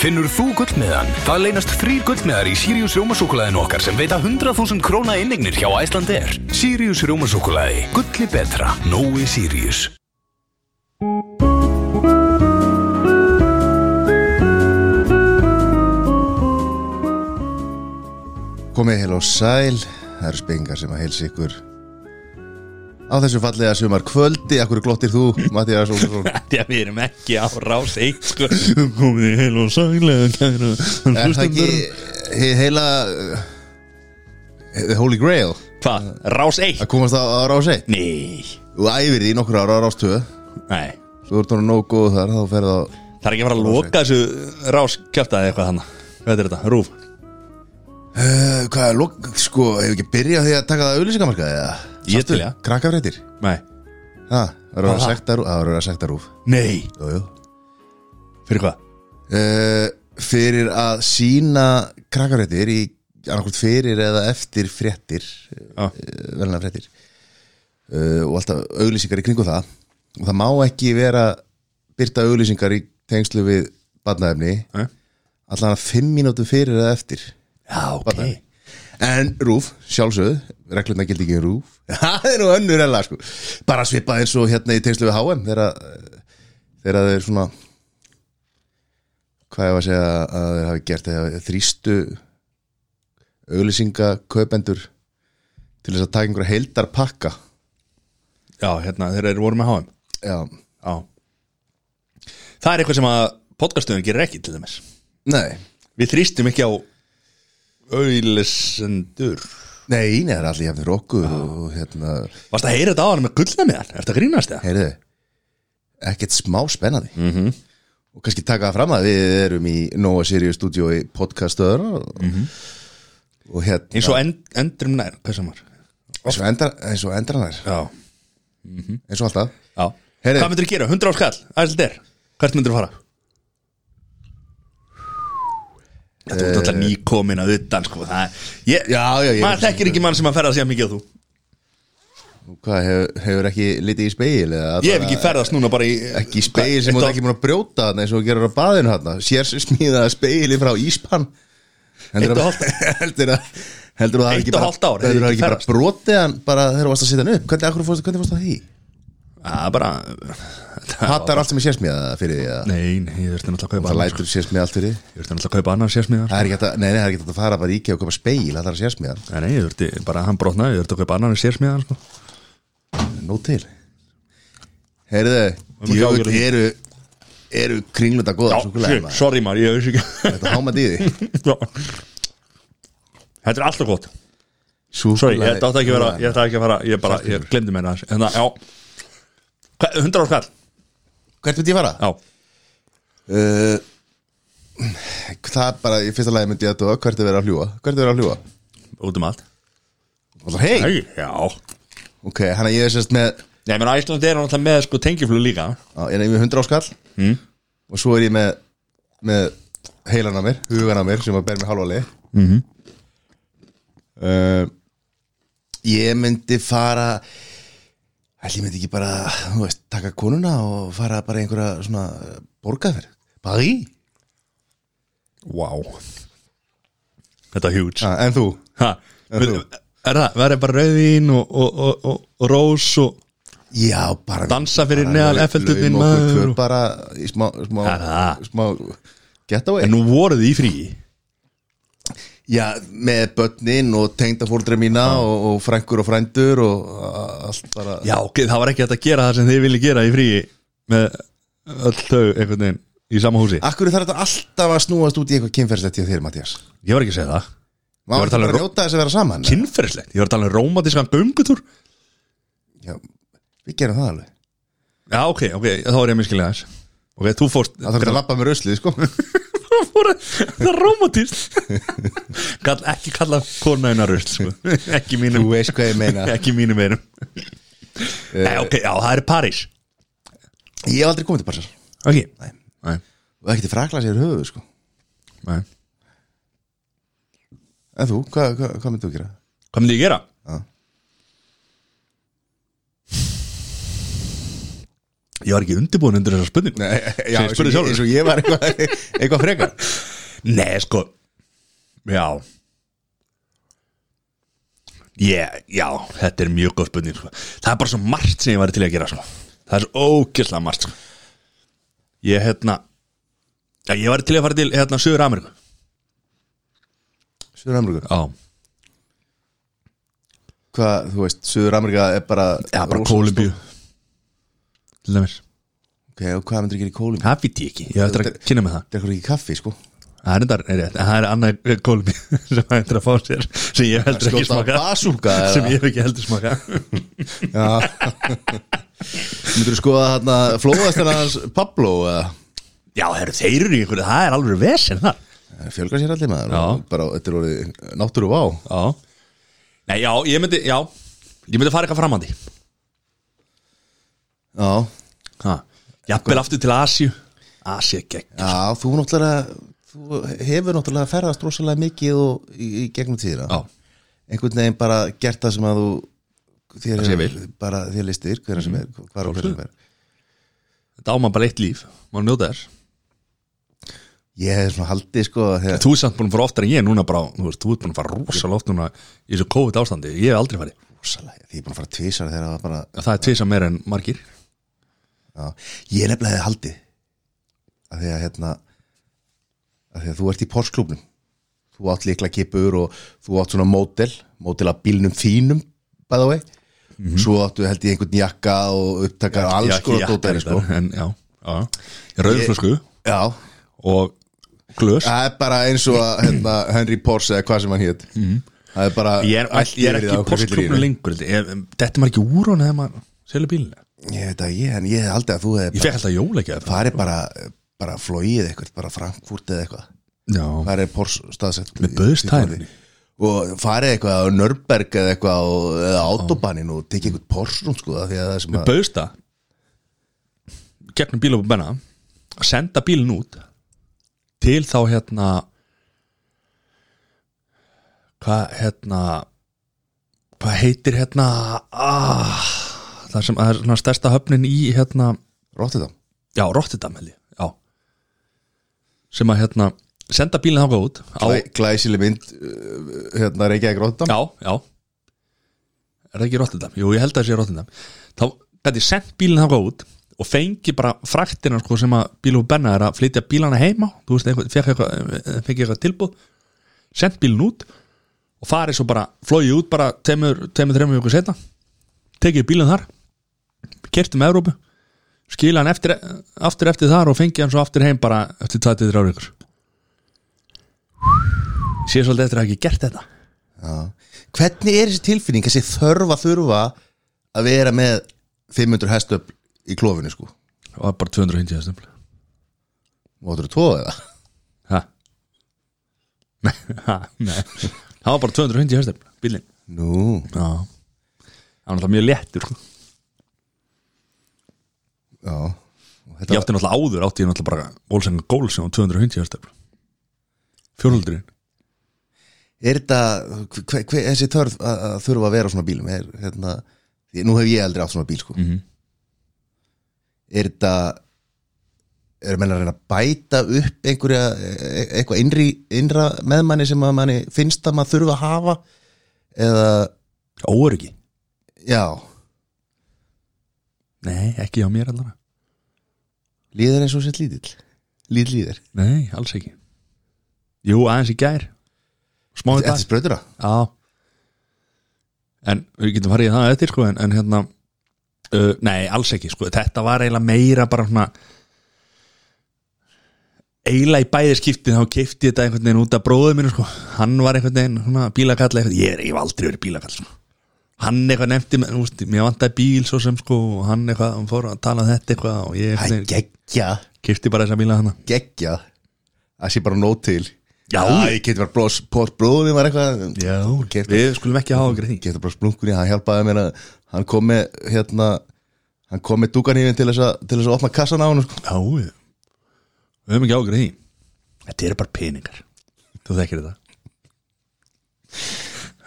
Finnur þú gullmiðan? Það leynast þrýr gullmiðar í Sirius Rjómasúkulæðin okkar sem veita 100.000 króna innignir hjá Æslandir. Sirius Rjómasúkulæði. Gulli betra. Nói Sirius. Komið heil og sæl, það eru spengar sem að heilsa ykkur á þessu fallega sumar kvöldi, akkur glottir þú, Mattias Ólarsson Því að við erum ekki á rás 1 sko. Komið heil og sælega kæra Er það ekki he- heila uh, The Holy Grail Hvað? Rás 1? að komast á, á rás 1? Nei Þú æfir í nokkur ára á rás 2 Nei Svo ertu hann nóg góð þar, þá ferð á Það er ekki að fara að loka þessu rás kjöftaði eitthvað hann Hvað er þetta? Rúf uh, Hvað er lok... Sko, hefur ekki byrjað á því að taka það auðlýsingamarkaði eða? Ég til, ja. Krakkafréttir? Nei Ha, það verður að Hvað? sekta rúf Það verður að sekta rúf Nei Jú, jú Fyrir hvað? uh, fyrir að sína krakkaréttir í annarkvort fyrir eða eftir fréttir Já. uh, velna fréttir uh, og alltaf auglýsingar í kringu það og það má ekki vera byrta auglýsingar í tengslu við badnaefni Nei. allan að fimm mínútu fyrir eða eftir Já, ok badnaefni En rúf, sjálfsögð, reglurna gildi ekki um rúf Það er nú önnur hella sko Bara svipað eins og hérna í tengslu við HM Þegar þegar þeir svona Hvað ég var að segja að þeir hafi gert þegar þrýstu auglýsinga kaupendur til þess að taka einhverja heildar pakka Já, hérna, þeir eru voru með HM Já, Já Það er eitthvað sem að podcastuðum gerir ekki til dæmis nei Við þrýstum ekki á auðlisendur Nei, nei, það er allir jafnir okkur og hérna, Varst að heyra þetta á hann með gullnamiðan? Er þetta grínast eða? heyrðu ekkert smá spennandi mm -hmm. og kannski taka það fram að við erum í Nóa Sirius Studio í podcastöður mm -hmm. og hérna Eins og end, endrum nær, hvað sem var? eins og endar, eins og endar hann Já, eins og alltaf já Heyrðu. Hvað myndir þú gera? 100 á skall, æsland er Hvert myndir þú fara? Þetta er alltaf nýkomin að utan sko það er, ég, Já, já, ég- Maður þekkir ekki mann sem að ferða sér mikið á þú og hvað hefur, hefur ekki litið í speil eða Ég hef ekki ferðast núna bara í ekki í speil sem þú er ekki múin að brjóta þarna eins og þú gerir á baðinu hann sér smíðaða speili frá Íspann heldur Eitt og að hálft. heldur að heldur að það hafi Eitt ekki og bara hálft ár, heldur að það ekki ekki bara ferðast. brotið hann bara þegar þú varst að setja hann upp hvernig, af hverju fórstu- hvernig fórst það því? Já, bara Hattar allt sem er sérsmíða eh, fyrir því að Nei, nei, ég þurfti náttúrulega að kaupa það annars lætur sérsmíða allt fyrir Ég þurfti náttúrulega að kaupa annars sérsmiðar Það er ekki hægt að, nei, nei, það er ekki hægt að fara bara í IKEA og köpa speil, það er að sérsmíðan, Nei, nei, ég þurfti bara, hann brotnaði, ég þurfti að kaupa annars sérsmiðar sko. nóg til Heyrðu, ekki djöfull ágjörð. eru, eru kringlunda góða súkulega maður, sorry maður, ég veist ekki þetta hámað í því Já. Sko. Þetta er alltaf gott Sorry, Súkkulaði- ég ætti átti ekki að vera Ég ætti ekki að fara, ég bara, ég glemdi mér aðeins En það, já Hva- 100 ára skall, Hvert myndi ég fara? já Uh, það er bara, í fyrsta lagi myndi ég að duga, hvert er verið að hljúa? Hvert er verið að hljúa? Út um allt Og það, hei, Æ, Já ok, hann að ég er sérst með, Nei, menn Æslandi er náttúrulega með sko tengjuflug líka á, ég er með 100 áskall mm. og svo er ég með, með heilan á mér, hugan á mér sem að ber mig halva leið Mhm. -hmm. uh, Ég myndi fara, ætli ég myndi ekki bara, þú veist, taka konuna og fara bara í einhverja svona borgaðferð, bara í? Vá Þetta er huge Ah, en þú? ha, En þú? Er það, verður bara rauðin og, og, og, og, og rós og Já, bara Dansa fyrir bara neðan laug- Eiffelturninn, laum okkur maður. tvö bara í smá, smá, Ha, ha. smá getaway En nú voruð þið í fríi Já, með börnin og tengdafóldri mína og, og frængur og frændur og a- allt bara Já, ok, það var ekki hægt að gera það sem þið vilji gera í fríi Með öll þau einhvern veginn í sama húsi Akkur þarf þetta alltaf að snúast út í eitthvað kynferðslegt hjá þér, Mattias Ég var ekki að segja það Má Ég var að ekki tala um bara ró- njóta þess að vera saman Kynferðislegt, ég var að tala um rómatískan göngutúr Já, við gerum það alveg Já, ok, ok, þá er ég miskilega þess Ok, þú fórst Það þarf þetta að lappa með ruslið, sko Þú fór að- Það er romantist Kall, Ekki kalla kona hennar rusl sko. Ekki Þú mínum Eh. veist hvað ég meina Ekki mínum einum Nei, ok, já, það er París Ég hef aldrei komið til Barsar Ok Nei, nei, og ekki til frakla sér höfuð, sko nei. En þú, hvað hva, hva myndið þú gera? Hvað myndi ég gera? Já. Ég var ekki undirbúin undir þessar spurning Nei, já, Sem ég spurði eins og ég- sjálfur eins og ég var eitthvað, eitthvað frekar Nei, sko Já yeah, Já, þetta er mjög góð spurning sko. Það er bara svo margt sem ég væri til að gera sko. Það er svo ógeðslega margt sko. Ég hérna já, Ég væri til að fara til hérna Suður Ameríku Suður Ameríku Já, Hvað, þú veist, Suður Ameríka er bara já bara rosa- Kólumbíu Til dæmis Ok, og hvað myndir ekki í Kólumbíu? Það viti ég ekki, ég ætti að kynna með það Það er ekki kaffi, sko Það er reyndar, er rétt, en það er annað kólmi sem hann ættir að fá sér sem ég hef heldur ekki Skjóta smaka basúka eða? sem ég hef ekki heldur smaka Já Myndir þú skoða þarna flóðast hans Pablo eða? Já, heru, þeir eru í einhverju, það er alveg vesen það Það Fjölgar sér allir maður Já. og bara, Þetta er orðið náttúru vá Já Nei, já, ég myndi, já Ég myndi fara eitthvað framandi Já, ha. Jafnvel aftur til Asíu Asíu gegn já þú náttúrulega Þú hefur náttúrulega ferðast rosalega mikið og, í, í gegnum tíðina Já, einhvern veginn bara gert það sem að þú þér, Það sem ég vil. Mhm. bara þér listir hverja sem er, hvar og hverja sem er þetta áman bara eitt líf Má njóta þess ég hef svona haldið sko að þegar, Þú er samt búin að fara oftar en ég núna bara Þú veist, þú ert búin að fara rosalega oft núna Í þessu COVID ástandi, ég hef aldrei farið rosalega, því ég er búin að fara tvisar þegar það var bara Það er tvisa meira en margir já, ég nefnilega hef haldið að því að hérna að því að þú ert í porsklubnum þú átt líkla kipur og þú átt svona mótel, mótel af bílnum þínum by the way svo áttu held ég einhvern jakka og upptakar og Ég alls ekki konar Mhm. jakka dótari sko reyndar, En já, já Rauðflösku já, og glös Það er bara eins og að hérna, Henry Porsche eða hvað sem hann hétt Það er bara Mhm. Ég er, allt ég yfir í er ekki það, í okkur fyllir í postklubnum það. lengur Þetta er maður ekki úr hún eða maður selur bílina Ég veit að ég, en ég hef aldrei að þú hefði Ég fekk alltaf jólækja bara farið bara, bara flóið eitthvað, bara Frankfurt eða eitthvað Já, Það er Porsche staðsett Með bauðst hæðinni. Og farið eitthvað á Nörberg eða eitthvað og, eða autobanin og tekið eitthvað Porsche sko, af því að það er sem að bauðst það gegnum bíl og benna að senda bílinn út til þá hérna hvað hérna hvað heitir hérna ah, það sem það er svona stærsta höfnin í hérna Róttið það Já, Rotterdam held ég Já Sem að hérna Senda bílinn þangað út á, Glæ, Glæsileg mynd uh, hérna Reykjavík Róttið Já, já Er það ekki Rotterdam? Jú, ég held að það sé Rotterdam Þá gæti ég sendt bílinn þangað út Og fengi bara fraktina sko sem að bíl og benna er að flytja bílana heima Þú veist, einhver, fekk eitthvað, eh, fekk eitthvað tilbúð Send bílinn út Og farið svo bara, flóið út bara Teimur, teimur, þreimur ykkur setna Tekið bílinn þar Kertum Evrópu Skila hann eftir, aftur eftir þar og fengi hann svo aftur heim bara eftir 23 ykkur Sér svolítið eftir að hafa ekki gert þetta Hvernig er þessi tilfinning, þessi þörfa þurfa að vera með 500 hestöfl í klófinu sko Það var bara 250 hestum Máttur þú tóða eða? Hæ? Nei, ha, nei Það var bara 250 hestum Bílinn Nú, Já Það var náttúrulega mjög léttur sko. já Og Ég Þetta, átti náttúrulega áður Átti ég náttúrulega bara Volsenga gól sem var 250 hestum Fjórhaldurinn er þetta, hver, hver, þessi þörf að, að þurfa að vera á svona bílum er, hérna, því, Nú hef ég aldrei átt svona bíl sko Mhm. Er þetta Er menn að reyna að bæta upp einhverja, e- eitthvað innri, innra meðmanni sem að manni finnst að maður þurfa að hafa eða, Óryggi já, Nei, ekki hjá mér allavega líður eins og sér lítill lítill líður, Nei, alls ekki Jú, aðeins í gær Smá í dag eftir sprautur það Já En við getum farið í það eftir sko en, en hérna uh, Nei, alls ekki sko Þetta var eiginlega meira bara svona eiginlega í bæði skipti þá keipti þetta einhvern veginn út af bróðu mínu sko Hann var einhvern veginn svona bílakall eitthvað. Ég er ég hef aldrei verið bílakall sko Hann eitthvað nefndi, mér, þú veist, mér vantaði bíl svo sem sko og hann eitthvað, hann fór að tala um þetta eitthvað og ég Æ, eitthvað, geggja keipti bara þessa bíla hana geggja það sé bara nót til Já. ég geti bara blós, blós bróðum var eitthvað Já, Keypti- við skulum ekki hafa okkur í því geti bara splunkunni, hann hjálpaði mér að hann kom með hérna hann kom með dúkanýfin til þess að til þess að opna kassan á hann sko. Já, við Við höfum ekki ágrið því Þetta eru bara peningar Þú þekkir þetta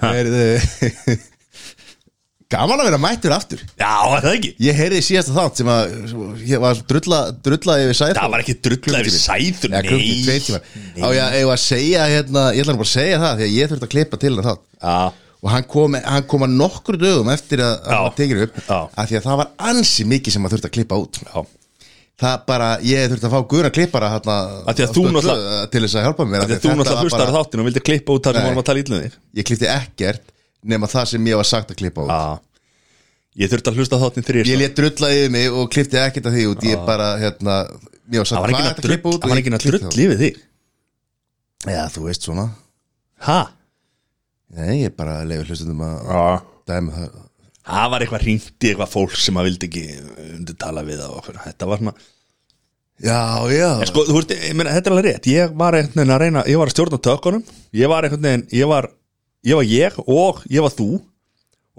Er, eh, Gaman að vera mættur aftur Já, er það ekki Ég heyrði í síðasta þátt sem að Ég var drulla, drulla yfir sæð Það var ekki drullað við sæður, Eða klukkutími, tveir tímar Á ég að- eigum að segja hérna Ég ætla nú bara að segja það Því að ég þurfti að klippa til hann þátt Já, Og hann kom, hann kom að nokkru dögum eftir að að Já. hann tekir upp Já. Af því að það var ansi mikið sem að þurfti að klippa út já Það bara, ég þurfti að fá guðna klippara hérna Af því að þú náttúrulega- Til þess að hjálpa mér af Þegar því þú að þetta náttúrulega var hlustar bara- bara... þáttin og vildi klippa út það Ah. sem Nei. vorum að tala ítlum þig Ég klippti ekkert Nema það sem ég var sagt að klippa út Já Ég þurfti að hlusta þáttin þrýr Ég létt drulla yfir mig og klippti ekkert að því út Ég bara, hérna mér var sagt, Ah. hvað er Það var ekki að þetta að klippa drull út Það og var ég ekki að klippti drull það. lífið þig Já, þú veist svona Ha? Nei, ég bara leiði hlustundum að Já dæmi það Það var eitthvað hringt í eitthvað fólk sem að vildi ekki eh, undir tala við og okkur Þetta var svona Já, já En sko, þú veist, ég meina, þetta er alveg rétt Ég var einhvern veginn að reyna, ég var að stjórna tökunum Ég var einhvern veginn, ég var Ég var ég og ég var þú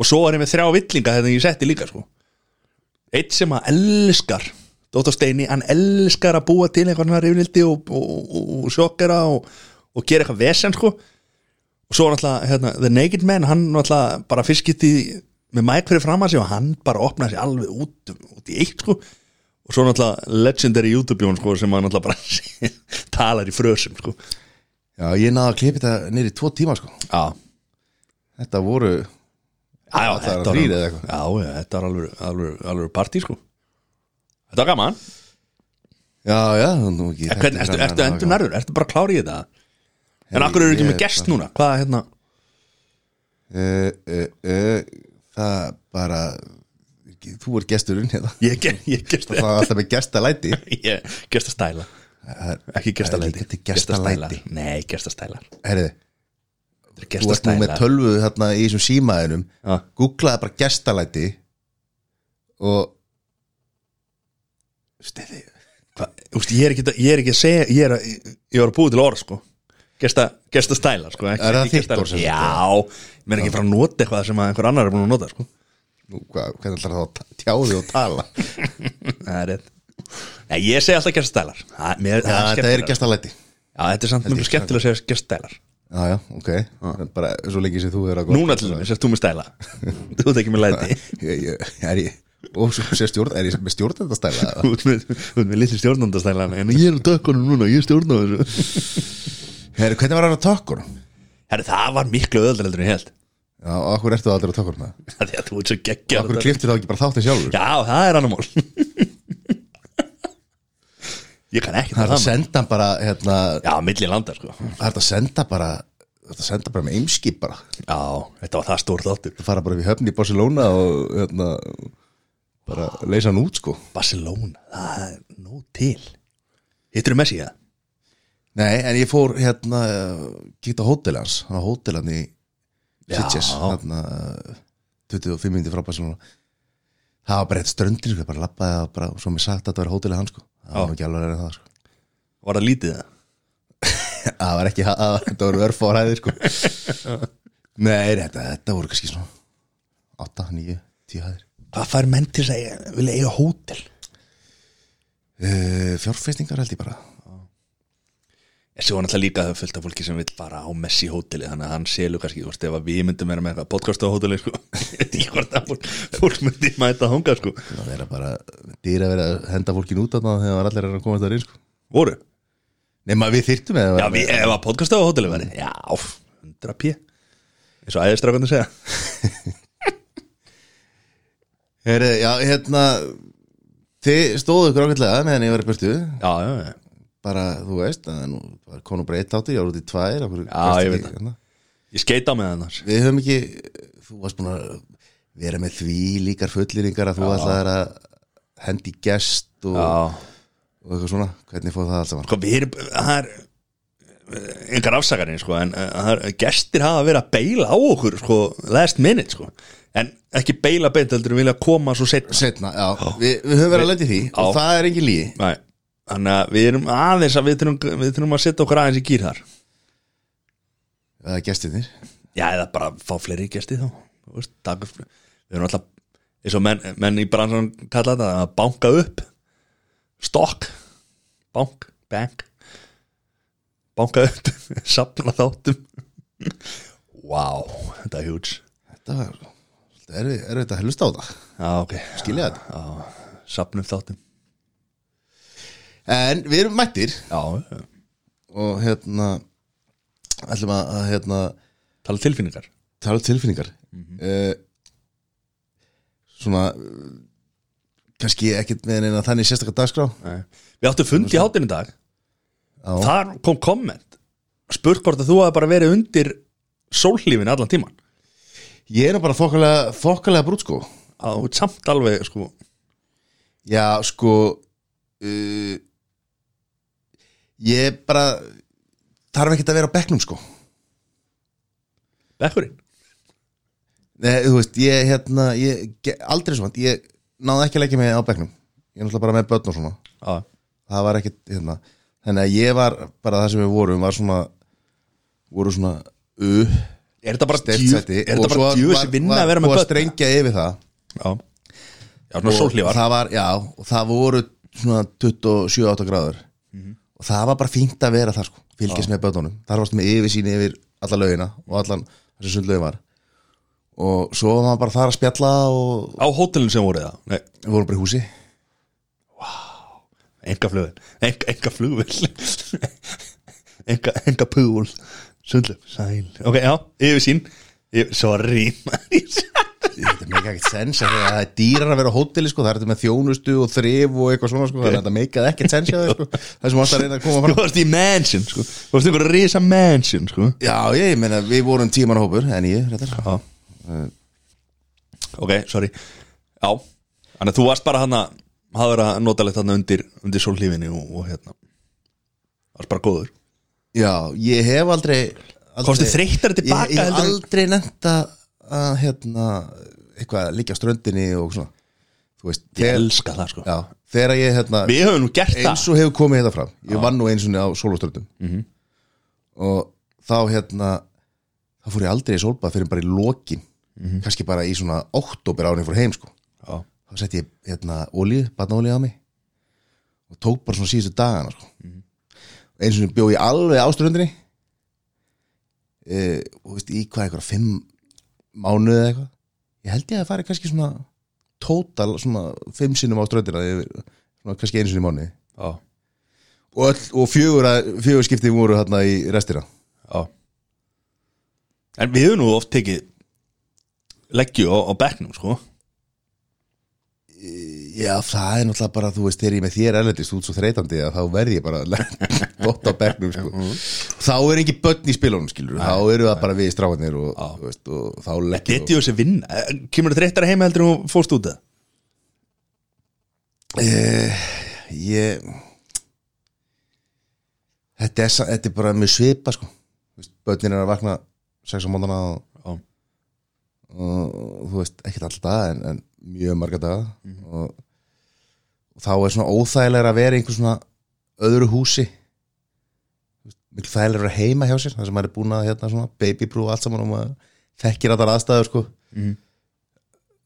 Og svo var ég með þrjá villinga þetta ég setti líka, sko Eitt sem að elskar Dóttar Steini, hann elskar að búa til einhvern veginn rifnildi og, og, og, og sjokkera og, og gera eitthvað vesen, sko Og svo var náttúrulega, hérna, The Naked Man Hann náttúrulega bara fiskit í með mæk fyrir fram að sig og hann bara opnaði sig alveg út, út í eitt sko og svo náttúrulega legendary YouTube-jón sko, sem hann náttúrulega bara talar í frösum sko. Já, ég náði að klippa þetta niður í tvo tíma sko já, Þetta voru já, já, Það var þrír eða eitthvað. já, já, þetta var alveg, alveg, alveg partí sko. þetta var gaman Já, já, nú ekki En Hvern, ertu, ertu endur nærður, ertu bara klár í þetta en akkur eru ekki með gest núna hvað hérna, Uh, uh, uh, það bara Þú er gesturinn hérna ég, ge- ég gest Það var alltaf með gestalæti ég gest að stæla ekki gest að það er líka leiti til gestalæti. nei, gest að stæla Herriði, þú gest að ert nú með stæla tölvu þarna í þessum símaðinum Já. Googlaði bara gestalæti Og Stefi ég er ekki að- ég er ekki að segja ég er að, ég var að búið til orð sko. gesta, gesta stæla sko. ekki, Er það ekki þitt gesta- orð sem sagt? já, ég meina ekki að fara að nota eitthvað sem að einhver annar er búin að nota sko. Nú, hvað, hvernig ætlar það að ta- tjá þig og tala það er rétt Nei, ég segi alltaf gesta stælar það, mér, Já, það þetta er skemmtilegra. gestalæti já, þetta er samt mjög skemmtilega að segja gesta stælar Já, já, ok Bara svo lengi sem þú er að núna til þess að þú með stæla þú ert ekki með læti ég, ég, er ég og svo sé stjórn, er ég með stjórnendastæla eða? þú ert með, þú ert með litli stjórnandastæla en ég er á dökkunum núna, ég er stjórna þessu Herru, hvernig var hann að tökkunum? Herri, það var miklu öðlega heldur en ég held Já, og okkur ertu aldrei að tökkunum það? Það er að þú ert svo Okkur geggja kliftir þá ekki bara þáttin sjálfur? Já, það er annar mál Ég kann ekki Það er það að senda hann bara, hérna Já, milli landa sko Það er að senda bara Það er að senda bara með eimskip bara Já, þetta var það stór þáttur Það fara bara við höfn í Barcelona og hérna bara leysa hann út sko Barcelona, það er nóg til Hittur Messi það? Nei, en ég fór hérna geta hótel hans, hann á hótel hann í Já. Sitges, hérna eh, 25 minni frá Barcelona Það var bara eitt ströndir, sko, bara lappaði það bara, svo mér sagt að þetta var hótelið hans sko. Það var nú ekki alveg að það sko. Var það lítið það? Það var ekki, það var- þetta voru örfóræðir sko. Nei, þetta, þetta voru kannski svona 8, 9, 10 hæðir Hvað fær menn til að eiga- vilja eiga hótel? uh, Fjárfestingar held ég bara Þessi var náttúrulega líka fullt af fólki sem vil bara á Messi hóteli Þannig að hann selur kannski, þú veist, ef að við myndum vera með eitthvað podcast á hóteli sko. Ég veit ekki hvort að fólk, fólk myndi mæta þangað sko. Það er bara dýra verið að henda fólkin út af það þegar var allir að komast það inn sko. Voru? Nei, maður við þyrtum eða Já, við, ef að podcast á hóteli væri Já, 100 p Eins og æðistrakunni segja Heri, já, hérna Þið stóðu ykkur ákveðlega meðan ég var í burtu Já, já, já bara, þú veist, að nú var konu bara eitt áttur, ég var út í tvær okkur, Já, ég veit það. það Ég skeita með hann þar hérna? Við höfum ekki, þú varst búin að vera með því líkar fulliringar að þú ætlaðir að hendi gest og, og eitthvað svona, hvernig fóð það allt saman Sko, við erum, það er engar afsakarinn, sko En eh, það er, gestir hafa verið að beila á okkur, sko Last minute, sko En ekki beila beint, heldur vilja koma svo seinna Setna, já, við, við höfum verið að lendi því og Já. það er engin lígi Nei, þannig að við erum aðeins að við þurfum, við þurfum að setja okkur aðeins í gýr þar Það er gestinir Já, eða bara fá fleiri gesti þá þú veist, taka upp- Við erum alltaf eins og menn, menn í bransan kalla þetta að banka upp stokk bank, bank banka upp, safna þáttum Vá, wow, þetta er huge Þetta var er, er þetta að hlusta á það Já, ok skilja þetta Sapnum þáttum en við erum mættir Já, og hérna ætlum að, að hérna, tala tilfinningar tala um tilfinningar mm svona eh, kannski ekkert með neina þannig sérstakar dagskrá Nei. Við áttum fundi í hátinn í dag Já. Þar kom komment Spurt hvort að þú hafi bara verið undir sóllífin allan tíman ég er nú bara þokkalega, þokkalega brútt sko að þú ert samt alveg sko Já, sko uh, Ég bara þarf ekkert að vera á bekknum, sko bekkurinn Nei, þú veist, ég, hérna, ég ge- aldrei svona, ég náði ekki að leggja mig á bekknum Ég er náttúrulega bara með börn og svona Já, Það var ekkert, hérna Þannig að ég var, bara það sem við vorum, var svona voru svona u er þetta bara steypt djú- sæti er þetta og svo bara var- djúsi vinna var að vera með búið börn strengja yfir það Já, já svona sóllífar það var, já, og það voru svona 27-8 gráður Mhm. og það var bara fínt að vera það sko fylgjast með bötunum, þar varstu með yfirsýn yfir alla lögina og allan þessi sundlögin var og svo var maður bara þar að spjalla og á hótelinu sem voru það Nei, við vorum bara í húsi enga flugvel enga, enga flugvel enga, enga púl sundlu, sæl ok, já, yfir sín yfir, sorry maður. þetta meika ekkert sens að það er dýrar að vera á hóteli sko, það er þetta með þjónustu og þrif og eitthvað svona sko, þannig að þetta meikaði ekkert sens að það sko, það sem alltaf reyna að koma þú fram varst í mansion sko. þú varst ykkur að risa mansion sko. já, ég meina, við vorum tíman hópur en ég, réttar já ok, sorry já, þannig að þú varst bara hann að hafa verið að notalegt hann undir, undir sólhlífinni og, og hérna varst bara góður já, ég hef aldrei, aldrei komstu þreyttar tilbaka ég, ég hef heldur en- aldrei nefnt að að, hérna, eitthvað að liggja á ströndinni og svona þú veist, ég þegar, elska það sko já, þegar ég hérna, við höfum nú gert eins og hefur komið hérna fram ég vann nú eins og á sólaströndum Mhm. og þá hérna þá fór ég aldrei í sólbað fyrir bara í lokin kannski bara í svona oktober árið fór heim sko það já. þá setti ég hérna olíu, batnaolíu á mig og tók bara svona síðustu dagana sko. eins og bjó ég alveg áströndinni e, og veist í hvað eitthvað fimm mánuði eða eitthvað ég held ég að það fari kannski svona tótal svona fimm sinnum áströndina svona kannski einu sinni í mánuði Já. og, öll, og fjögur, að- fjögur skipti voru hérna í restina Já En við höfum nú oft tekið leggju á, á bekknum sko já það er náttúrulega bara þú veist þegar ég er með þér erlendist út svo þreytandi að þá verð ég bara bótt á bekknum sko. þá er ekki börn í spilunum skilur þá eru það bara við stráðnir og, Já. þú veist, og þá leggjum Getið þessi vinna, Eh, kemur þetta réttar heima heldur og fórst út það? og Eh, ég þetta er, sa- þetta er bara mjög svipa sko. Þú veist, börnin er að vakna sex á móndana og, Já, og, og þú veist ekkert alltaf en, en mjög marga daga Mhm. og, og þá er svona óþægilega að vera í einhver svona öðru húsi mikil þægilega að vera heima hjá sér þar sem maður er búin að hérna svona babybrú og allt saman og maður þekkir allar aðstæður sko Mhm.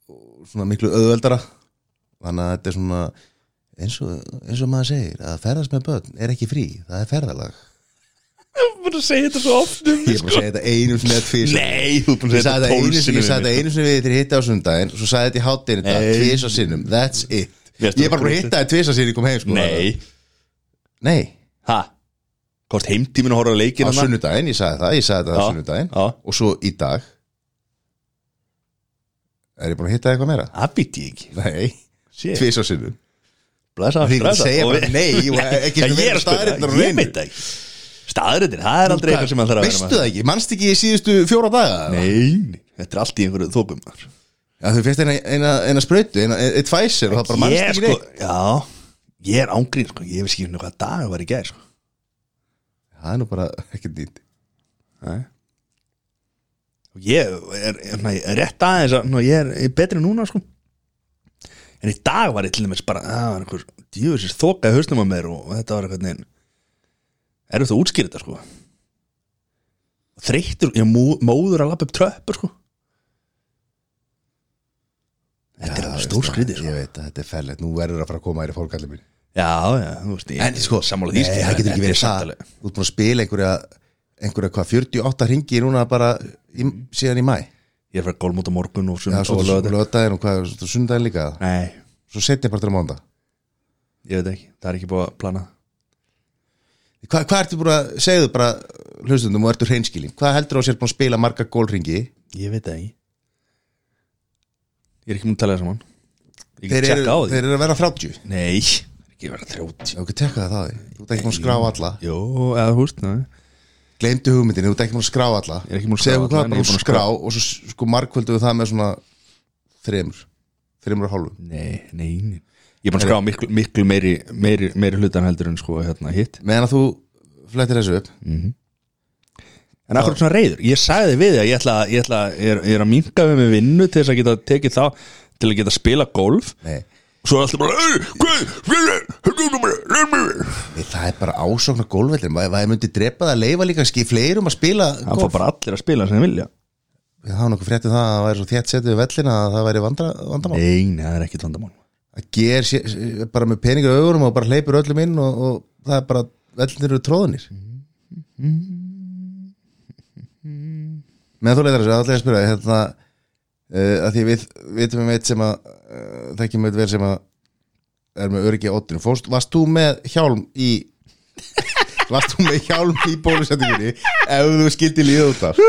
og svona miklu öðveldara þannig að þetta er svona eins og, eins og maður segir að ferðast með börn er ekki frí, það er ferðalag Ég er búin að segja þetta svo oft um ég er bara að segja þetta einum sinni eða tvisvar. Nei, þú er búin að Ég segja sagði þetta þetta einu tólf sinni, sinni ég sagði þetta einu sinni við þér hitta á sundaginn Svo sagði þetta í hátinn þetta Nei. tvisa sinnum That's it Mér finnst Ég er bara það búin að hitta þetta tvisa sinni kom heim sko Nei, Nei, ha Hvort heimtímin að horfa á leikin á sunnudaginn, ég sagði það Ég sagði þetta á Já, sunnudaginn já. Og svo í dag Er ég búin að hitta eitthvað meira? Það býti ég ekki Nei, Sér, tvisa sinnum blessa, Því að blessa segja Og bara við- nei, og ekki sem Já, Ég vera er að spyrja, staðreyndar á ég neinu. veit það ekki Staðröndin, það er aldrei eitthvað sem að þarf að vera Veistu það ekki, manstu ekki síðustu fjóra daga? Nei, nei, þetta er allt í einhverju þókum maður. Já, þú fyrst eina, eina, eina sprautu, eina, eitt fæsir og það bara manstu Ég, ekki sko, neitt Já, ég er ángrín sko. Ég hef skýrðin hvað dag var í gæð sko. Það er nú bara ekki nýtt Nei. og ég er, er, er rétt aðeins að ná, ég er, er betri núna sko en í dag var ég til dæmis bara það var einhver djúðisins þoka í hausnum að mér og, og þetta var eitthvað neginn er þetta útskýrð þetta sko og þreyttur, ég er mú, móður að lappa upp tröppur sko þetta er alveg stór skrítið sko. Ég veit að þetta er fellið, nú verður að fara að koma þér í fólkallið mín já, já, þú veist ég, En sko, sammála því Nei, það getur ekki verið það Þú ert búin að spila einhverja, einhverja hvað, 48 ringi núna bara í, síðan í mæ ég er fyrir gólm út á morgun og Já, sunnum svo lögdæðin og hvað, svo sundæðin líka Nei, Svo setja bara til mánda ég veit ekki, það er ekki búið að plana Hva, Hvað ertu búin að, segðu bara hlustundum og ertu hreinskilin Hvað heldur á sér búin að spila marga gólringi Ég veit það ekki Ég er ekki múin að tala það saman Ég þeir get eru, tjekka á því þeir eru að vera 30 Nei, það er ekki verið að þrjóti Ef ekki tekka það á því, þú ert ekki búin að skrá alla Jó, eða húst, nei Gleimdu hugmyndin, þú ert ekki búin að skrá alla Ég er ekki búin að skrá Segðu alla, hvað bara en ég er að búin að skrá og svo sko markvöldu við það með svona þremur, þremur og hálfum Nei, nei, nei. Ég er bara að skrá miklu, miklu meiri, meiri, meiri hlutan heldur en sko hérna hitt Meðan að þú flettir þessu upp En akkur er svona reyður, ég sagði við þig að ég ætla, ég ætla ég er, ég er að minka við mig vinnu til þess að geta tekið þá til að geta spila golf Nei, Svo er alltaf bara "Ey, hvað, hvað, hvað, hvað, hvað, hvað?" Nei, það er bara ásókn á gólvellir Hvað hvað ég myndi drepa það að leifa líka skil fleirum að spila Það fór golf? bara allir að spila sem þeir vilja Við hafa nokkuð fréttið það að það væri svo þétt setið við vellina að það væri vandra, vandamál Nei, nei, það er ekkit vandamál Að ger sé, bara með peninga augurum og bara hleypur öllum inn og, og það er bara vellinir eru tróðunir Meðan þú leitar þessu, allir að spyrja þig, hérna, uh, að því við vitum við meitt sem að uh, þekkjum við verið sem að er með öryggi á oddinu Fórst, Varst þú með hjálm í Varst þú með hjálm í bólusendingunni ef þú skildi líða út af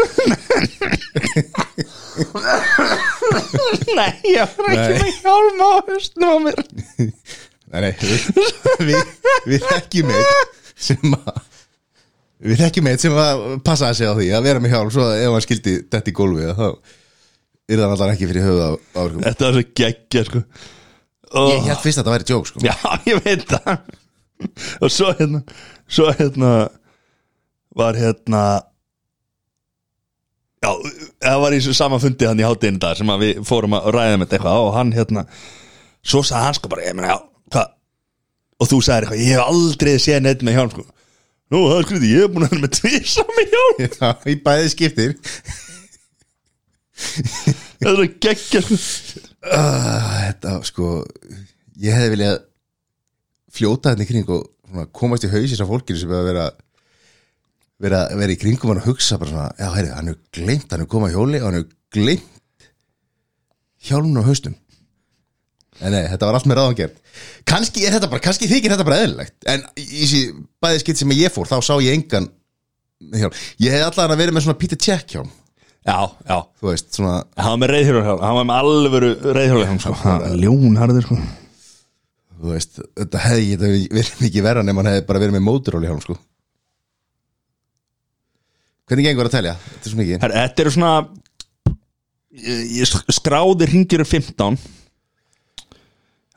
Nei, ég var ekki með hjálm á höstnum á mér Nei, nei, við, við, við þekkjum eitt sem að við þekkjum eitt sem að passaði sig á því að vera með hjálm svo að ef hann skildi þetta í gólfið þá er það allan ekki fyrir höfuð á árkum Þetta var svo geggja, sko oh. Ég held fyrst að þetta væri joke sko Já, ég veit það Og svo hérna Svo hérna Var hérna Já, það var í þessu sama fundi hann í hátinn dag sem að við fórum að ræða með þetta eitthvað og hann hérna, svo sagði hann sko bara ég meina, já, hvað og þú sagði eitthvað, ég hef aldrei séð neitt með hjálm sko, nú, það er skriði, ég hef búin að vera með tvisa með hjálm, Já, í bæði skiptir það er að geggja sko. uh, Þetta, sko ég hefði viljað fljóta þetta í kring og svona, komast í hausins af fólkinu sem hefði verið að vera, vera í kringum hann og hugsa bara svona, já, heyrðu, hann er gleymt hann er komað hjóli og hann er gleymt hjálmun á haustum en nei, þetta var allt með ráðangert kannski er þetta bara, kannski þykir þetta bara eðlilegt en í þessi bæði skitt sem ég fór þá sá ég engan hjálm. ég hefði allan að vera með svona Peter Check hjálm já, já, þú veist, svona hann var með reyðhjörðarhjálm hann var með alvöru reyðhjörðarhjálm sko. ljónharður sko. þú veist, þetta hefði geta verið mikið verra nema hann hefði bara verið með móturól í hálfum sko hvernig gengur að telja? þetta er svo mikið Her, þetta eru svona ég, ég skráði ringjur 15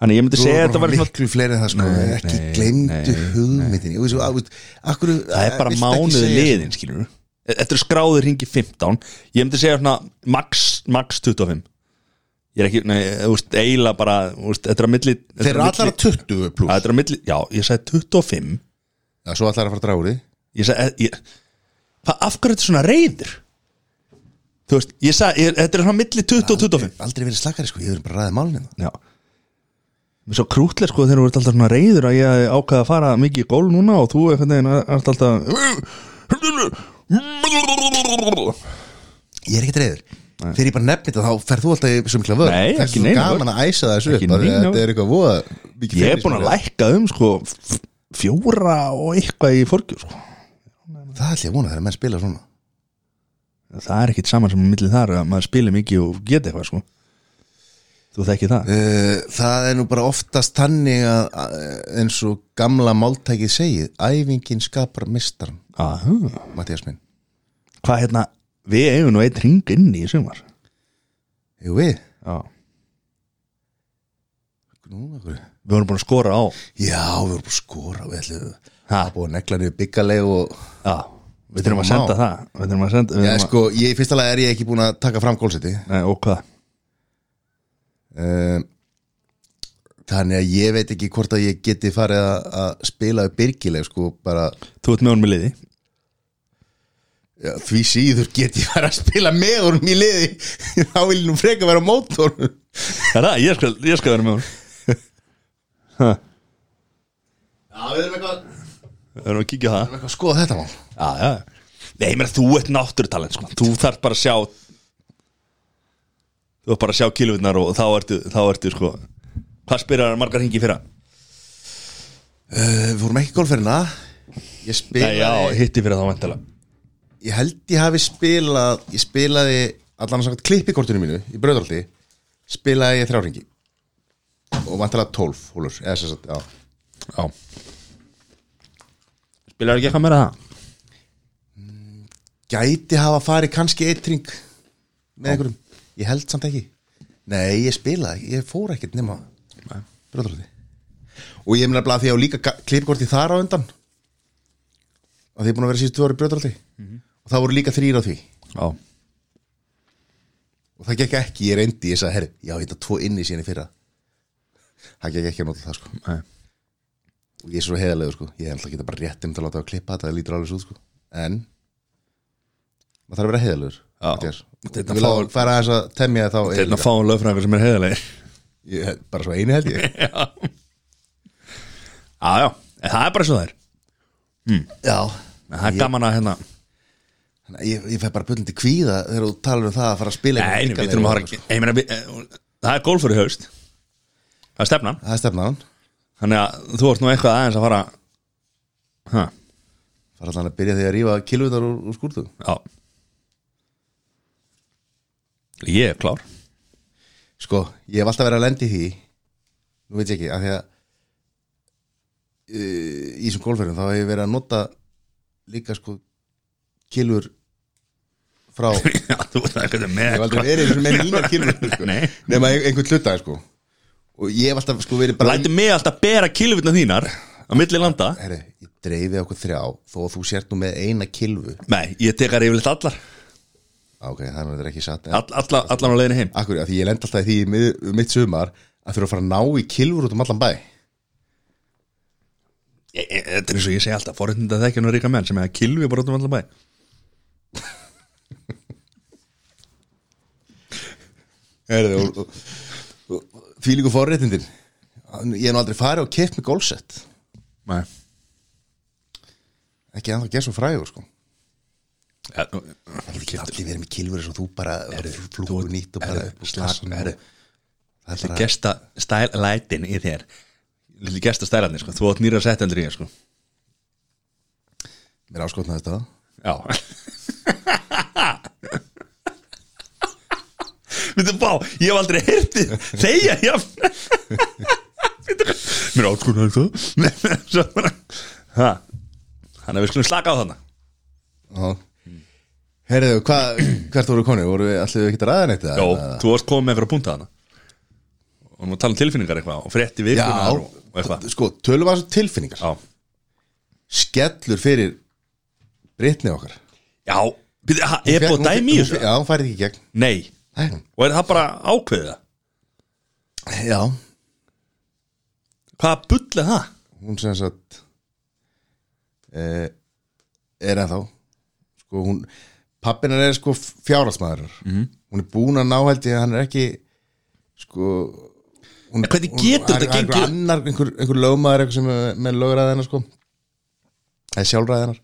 þannig ég myndi Þú segja voru að þetta bara var svona miklu fleiri en það sko Nei, ekki nei, gleymdu nei, hugmyndin ég veist, þú veist, akkur það er bara mánuði sko. liðin skilur þetta eru skráði ringi 15 ég myndi segja svona max, max 25 ég er ekki, nei, þú veist, eiginlega bara þú veist, þetta er að milli þetta þeir eru að allar milli- að 20 Já, pluss þetta er að milli, já, ég sagði 25 já, svo allar að fara að draga úr því ég sagði eh, ég, hva, af hverju er þetta svona reyður þú veist, ég sagði ég, þetta er svona milli 20 og 25 aldrei verið slakari sko, ég verið bara að ræða málinu já Mér er svo krútlega sko þegar þú ert alltaf svona reyður að ég ákvaði að fara mikið í gól núna og þú einhvern veginn ert alltaf ég er ekki reyður þegar ég bara nefnir þetta þá ferð þú alltaf í svo mikla vörn Nei, Það er ekki svo neina gaman að æsa þessu Ekki upp bara, neina vörn. þetta er eitthvað voða mikið Ég er fyrir, búin að sko. lækka um sko f- fjóra og eitthvað í forgjöf sko það ætlum ég að vona þegar menn spila svona Það er ekkit saman sem millir þar að maður spila mikið og geta eitthvað sko Þú þekkið það Uh, það er nú bara oftast tannig að, að eins og gamla máltækið segið, æfingin skapar mistaran, Aha. Mattias minn Hvað hérna, við eigum nú eitt ring inn í sumar Jú við, Já. nú okkur Við vorum búin að skora á Já, við vorum bara að skora, við ætlum Ha. að búið að negla niður byggaleg og Já, við þurfum að senda það Við þurfum að senda við Já, þurfum að- sko, ég, í fyrsta lag er ég ekki búin að taka fram gólseti Nei, og hvað? um, Þannig að ég veit ekki hvort að ég geti farið að, að spila við byrgileg, sko, bara Þú ert með honum í liði já, því síður get ég farið að spila með honum í liði þá vil ég nú freka vera á mótornum Er það? Ég skal, ég skal vera með honum Ha, Já, við erum eitthvað Við erum að kíkja á það eitthvað að skoða þetta mál Já, já Nei, mér þú ert náttúrutalent sko. Þú þarf bara að sjá þú ert bara að sjá kilvurnar og þá ertu, þá ertu sko hvað spyrir margar hengi fyrra? uh, Við vorum ekki golferina Ég Nei, já, spilaði hitti fyrra þá vantala Ég held ég hafi spilað Ég spilaði allan að sagt klippikortinu mínu Í bröðaldi Spilaði ég þrjáringi Og vantilega 12 hólur Eða sem sagt, já Já Spilar ekki eitthvað meira en það? gæti hafa farið kannski eitt ring með einhverjum, ég held samt ekki nei, ég spilaði, ekki, ég fór ekkert nema bröðröði og ég meina bara því að ég á líka klipkorti þar á undan að því ég er búin að vera síðustu ári bröðröði mm og það voru líka þrýr á því Já og það gekk ekki, ég reyndi, ég sagði herri, já, þetta tvo inni síðan í fyrra það gekk ekki að nota það sko Nei. og ég er svo heiðarlegur sko ég er alltaf að geta bara rétt um til að láta að klippa þetta það lítur alveg svo út, sko en maður þarf að vera heiðarlegur Já. Þetta þetta vil fá- að fara aðeins að temja þá Þetta eiginlega. Hérna fáum lögfræðingar sem er heiðalegir Ég- bara svo einu held ég Já, já, en það er bara svo þær já Það er gaman að hérna Þannig að ég, ég fæ bara bullandi kvíða þegar þú talar um það að fara að spila Nei, eitthvað við þurfum að hrikalega. fara ekki Ég meina, við- eh, Það er golfur í haust Það er stefnan það er stefnaðan Þannig að þú ert nú eitthvað aðeins að fara Hæ, fara allan að byrja því að rífa kilvunar úr, úr skúrtu já Ég er klár sko, ég hef alltaf verið að lendi því nú veit ég ekki, af því að uh, í þessum golfverðum þá hef ég verið að nota líka sko kilur frá ég Já, þú ert eitthvað með hef aldrei verið eins og með mínar kilur sko, Nei. nema ein- einhvern hluta sko. og ég hef alltaf sko verið bara Læti mig alltaf bera kilvutna þínar á milli landa herri, ég dreifði okkur þrjá þó að þú sért nú með eina kilvu Nei, ég tekar yfirleitt allar Á, ok, þannig að þetta er ekki satt en, All, alla, Allan á leiðinu heim akkur, af því ég lendi alltaf í því í mið, um mitt sumar að þurfa að fara að ná í kilvur út um allan bæ Ég- ég- Þetta er eins og ég segi alltaf Forréttinda þekkjana ríka menn sem hefða kilvi bara út um allan bæ Herðu, og, og, og, því líku forréttindin ég hef nú aldrei farið og keft með golfsett Nei ekki anþá að gera svo frægur sko ja, nú- ekki allir verið með kilfur eins og þú bara þú- flúku nýtt og bara herðu, upp úr slapp, kassanum herðu. og- það er Þetta bara gesta stæl lætin í þér Lilli gesta stælarnir sko Þú átt nýra sett heldur í þér sko mér áskotnaði þetta Já Veitum bá, ég hef aldrei heyrti Þeia, já Mér átkunna þetta Svo bara Ha Þannig að við skulum slaka á þarna Já. herðu, hva, hvert voru konið? voru við allir ekki að ræða neitt Jó, það? þú varst komið með eitthvað að punta þarna Og nú tala um tilfinningar eitthvað Og frétti vikunar og, og eitthvað já, sko, tölum að tilfinningar Já, skellur fyrir brittni okkar já byrja, ha, Er Fékk búið hún- að dæmi í hún- þessu? já, hún færið ekki í gegn Nei, Nei. og er það bara ákveðið það? já, Hvaða bull er það? hún sem sagt eh, er ennþá sko hún pappinar er sko fjárhalsmaður Mhm. -hmm. hún er búin að ná held ég að hann er ekki sko hún, En hvernig getur hann- þetta hann- gengið? einhver annar, einhver, einhver lögmaður eitthvað sem er með lögræði hennar sko eða sjálfræði hennar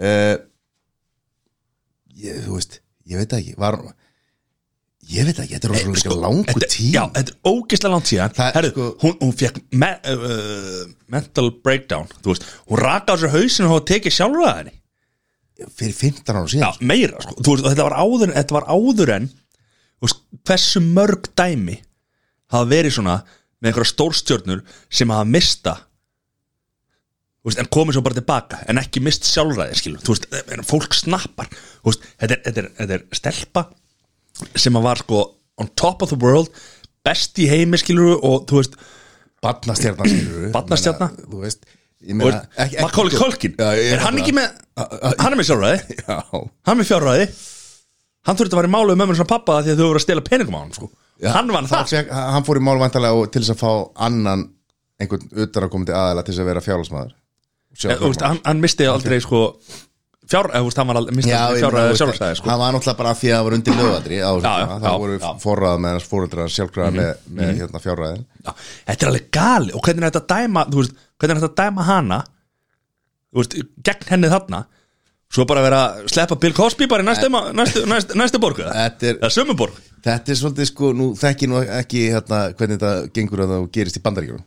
eh, ég, þú veist ég veit það ekki var, ég veit það ekki, þetta er rosalega sko, langur E, Þetta- tím Já, þetta er ógislega langt síðan Það- Herðu, sko- hún, hún fekk me, uh, mental breakdown Þú veist, hún raka á sér hausinu og hafa tekið sjálfraða henni fyrir 15 ára síðan Já, meira, sko, þú veist, og þetta var áður Þetta var áður en þú veist, Hversu mörg dæmi hafa verið svona með einhverja stórstjörnur sem hafa mista þú veist, en komið svo bara tilbaka en ekki mist sjálfræði skilur þú veist, eh, en fólk snappar þú veist, þetta, er, þetta, er, þetta er stelpa sem að var sko on top of the world best í heimi skilur og þú veist, Batnastjarnan skilur við Barnastjarna? Þú veist ég og meina, er, Macaulay Culkin er hann ekki með, hann er með sjálfræði Já, hann er með fjárræði hann þurfti að fara í málu um ömmun sem pappa það því að þau voru að stela peningum á hann sko. hann vann það fekk, Hann fór í mál væntanlega og- til þess að fá annan einhvern utan að koma til aðeila til þess að vera fjárhalsmaður Eh, þú veist, hann, hann misti aldrei sko, fjár, eh, þú veist, hann var aldrei, misti Já, aldrei ég meina, fjárræði þú veist, sjálfræði sko. Hann var náttúrulega bara af því að það var undir lögadri á, Já, já, já, já, Það voru já. Mhm, forrað með hans fóreldrar sjálfgræða með, með hérna, fjárræðin Já, þetta er alveg gali og hvernig er þetta að dæma þú veist, hvernig er þetta að dæma hana þú veist, gegn henni þarna Eh. svo bara vera að sleppa Bill Cosby bara í næstu, næstu, næstu, næstu borg eða Þetta er- eða sömu borg Þetta er svolítið sko, nú þekki nú ekki hérna, hvernig þetta gengur að það gerist í bandaríkjum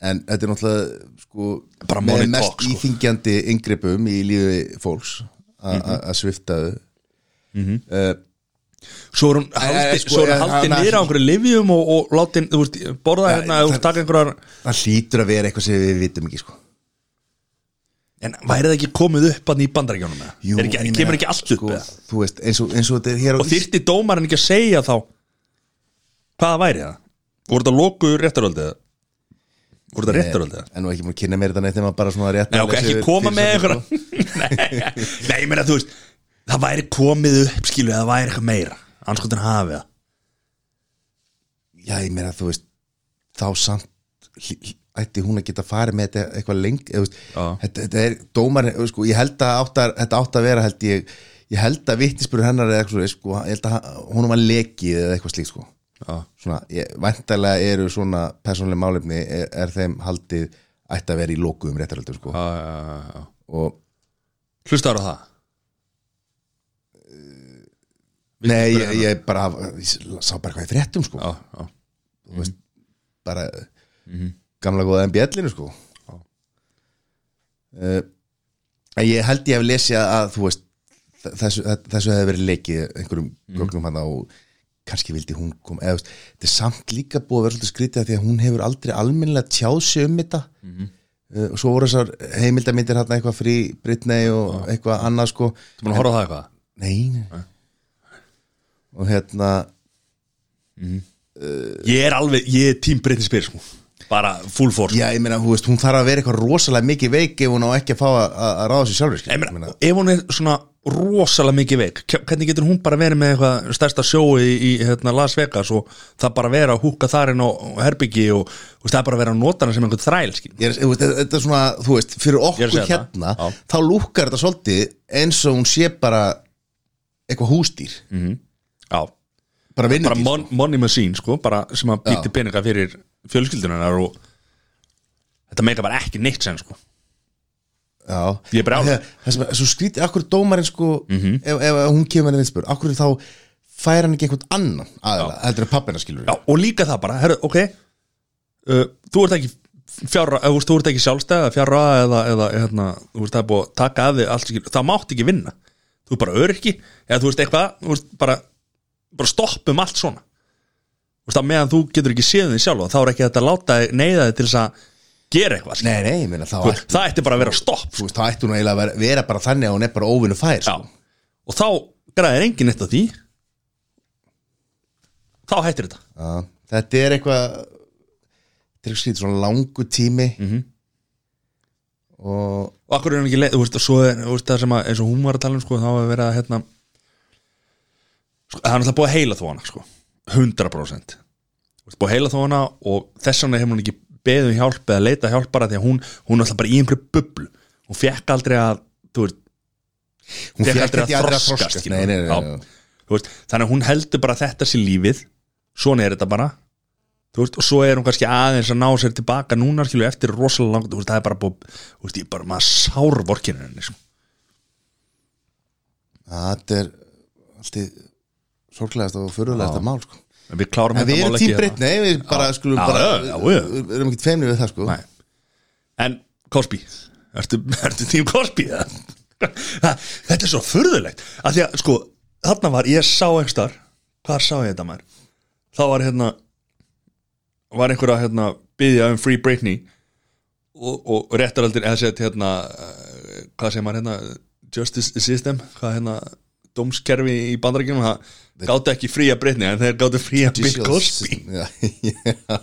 en þetta er náttúrulega sko, Bara með money mest talk, sko. íþingjandi yngrippum í lífi fólks a- Mhm. a- að Eh, sviftaðu Svo er hún Æ, haldin, sko, sko, ég- haldin hann- niður á einhverju livjum og, og látin, þú veist, borða hérna, þú veist, taka einhverjar það hlýtur að vera eitthvað sem við vitum ekki sko. En væri það ekki komið upp hann í bandarækjónum með? Jú, ekki, ég meina, kemur ekki allt upp sko, sko, þú veist, eins, og, eins og þetta er hér á Og þyrfti dómarinn ekki að segja þá Hvaða væri það? Voru þetta loku réttaröldið? Voru þetta réttaröldið? en nú ekki múin að kynna mér þetta neitt nema bara svona rétt Nei, sko. ok, ekki koma með sko. einhverja Nei, Nei, ég meina, þú veist Það væri komið upp, skilu, það væri eitthvað meira Anskotin hafi það já, ég meina þú veist þá samt hl- hl- ætti hún að geta farið með þetta eitthvað lengi eða, þú veist, Já. þetta, þetta er dómar sko, ég held að átt að, þetta átt að vera held ég, ég held að vittispur hennar eða eitthvað, svoleiðis, sko, ég held að hún var lekið eða eitthvað slíkt sko Já. svona, ég, væntalega eru svona persónlega málefni er, er þeim haldið ætti að vera í lokuðum réttaröldum sko. og Hlustaður á það? nei, ég, ég bara ég sá bara hvað ég fréttum sko Já, já þú veist, bara gamla góða MBL-inu sko uh, en ég held ég hef lesið að þú veist þ- þessu, þ- þessu hefði verið leikið einhverjum gögnum hann og kannski vildi hún kom eða þú veist, þetta er samt líka búið að vera svolítið skrítið af því að hún hefur aldrei almennilega tjáð sig um þetta uh, og svo voru þessar heimildamindir hann eitthvað frí Britney og eitthvað annað sko Þú búin að horfa á það eitthvað? nei og hérna Ég er alveg, ég er tím Britney Spears sko. Bara full force Já, ég meina, hún, veist, hún þarf að vera eitthvað rosalega mikið veik ef hún á ekki að fá að, að að ráða sér sjálfur skilur. Ég meina, ef hún er svona rosalega mikið veik hve- hvernig getur hún bara verið með eitthvað stærsta sjói í, í hérna, Las Vegas og það bara vera að húka þar inn á á herbyggi og, og það bara vera að nota hana sem einhvern þræl skil. Ég er, þú veist, þetta er svona, þú veist, fyrir Ég er að okkur segja hérna það, já. þá lúkkar þetta svolítið eins og hún sé bara eitthvað hústýr Já, bara vinnur Mm. bara mon, money machine sko, bara sem að býti Já. peninga fyrir fjölskyldunar og þetta meika bara ekki neitt sen sko. Já, Ég er brjálað. Þegar- Það sem er svo skrítið, akkur dómarinn sko Mhm. ef, ef hún kemur henni vinspur, akkur þá fær hann ekki einhvern annan aðeins, heldur að pappina skilur Já, og líka það bara, herru, ok uh, þú ert ekki fjárra, eða, þú veist, þú ert ekki sjálfstæða fjárra eða, eða hérna, þú veist, það er búið að taka af þig allt, skilur, það mátt ekki vinna þú er bara öryggi, eða þú veist eitthvað þú veist, bara, bara stoppum allt svona þú veist, að meðan þú getur ekki séð þig sjálf þá er ekki þetta að láta þig- neyða þig til þess að gera eitthvað, skilur. Nei, nei, ég meina, þá Þú ætti, veist, það ætti bara að vera stopp sko. þú veist, þá ætti hún eiginlega að vera, vera bara þannig að hún er bara óvinnu fær Já, sko. og þá græðir enginn eitt á því þá hættir þetta Já, þetta er eitthvað þetta er eitthvað skrítið svona langu tími Mhm. og og akkur er hann ekki leið, þú veist, og svo er, þú veist, það sem að eins og hún var að tala um, sko, þá hefur verið að hérna, sko, það er náttúrulega búið að heila þó hana, sko, 100% Þú veist, búið að heila þó hana og þess vegna hefur hún ekki beðið um hjálp eða leita hjálp bara því að hún, hún er alltaf bara í einhverju bublu, hún fekk aldrei að þú veist, hún Fékk fékk aldrei ekki að aldrei að þroskast, þroskast skilur. nei, nei, nei, Já. nei, nei. þú veist, þannig að hún heldur bara að þetta sér lífið, svona er þetta bara þú veist, og svo er hún kannski aðeins að ná sér tilbaka núna, skilu, eftir rosalega langt, þú veist, það er bara búið, þú veist, ég bara maður sár vorkinu henni, sko. það er alltið sorglegast og fyrirlegast að mál sko. En við klárum en við þetta erum mál ekki tím hérna. breytni, við bara skulum Já, bara já, já, já. við erum ekkert feimni við það sko Nei. En Cosby Ertu, ertu tím Cosby eða? Þetta er svo furðulegt að Því að sko, þarna var ég sá ekstar Hvar sá ég þetta maður? Þá var hérna Var einhver að hérna byggja um Free Britney Og, og réttaraldir eða sett hérna eh, Hvað segir maður hérna Justice System, hvað hérna dómskerfi í bandarækjum, það gáttu ekki fría Britney en þeir gáttu fría Bill Cosby Já, já.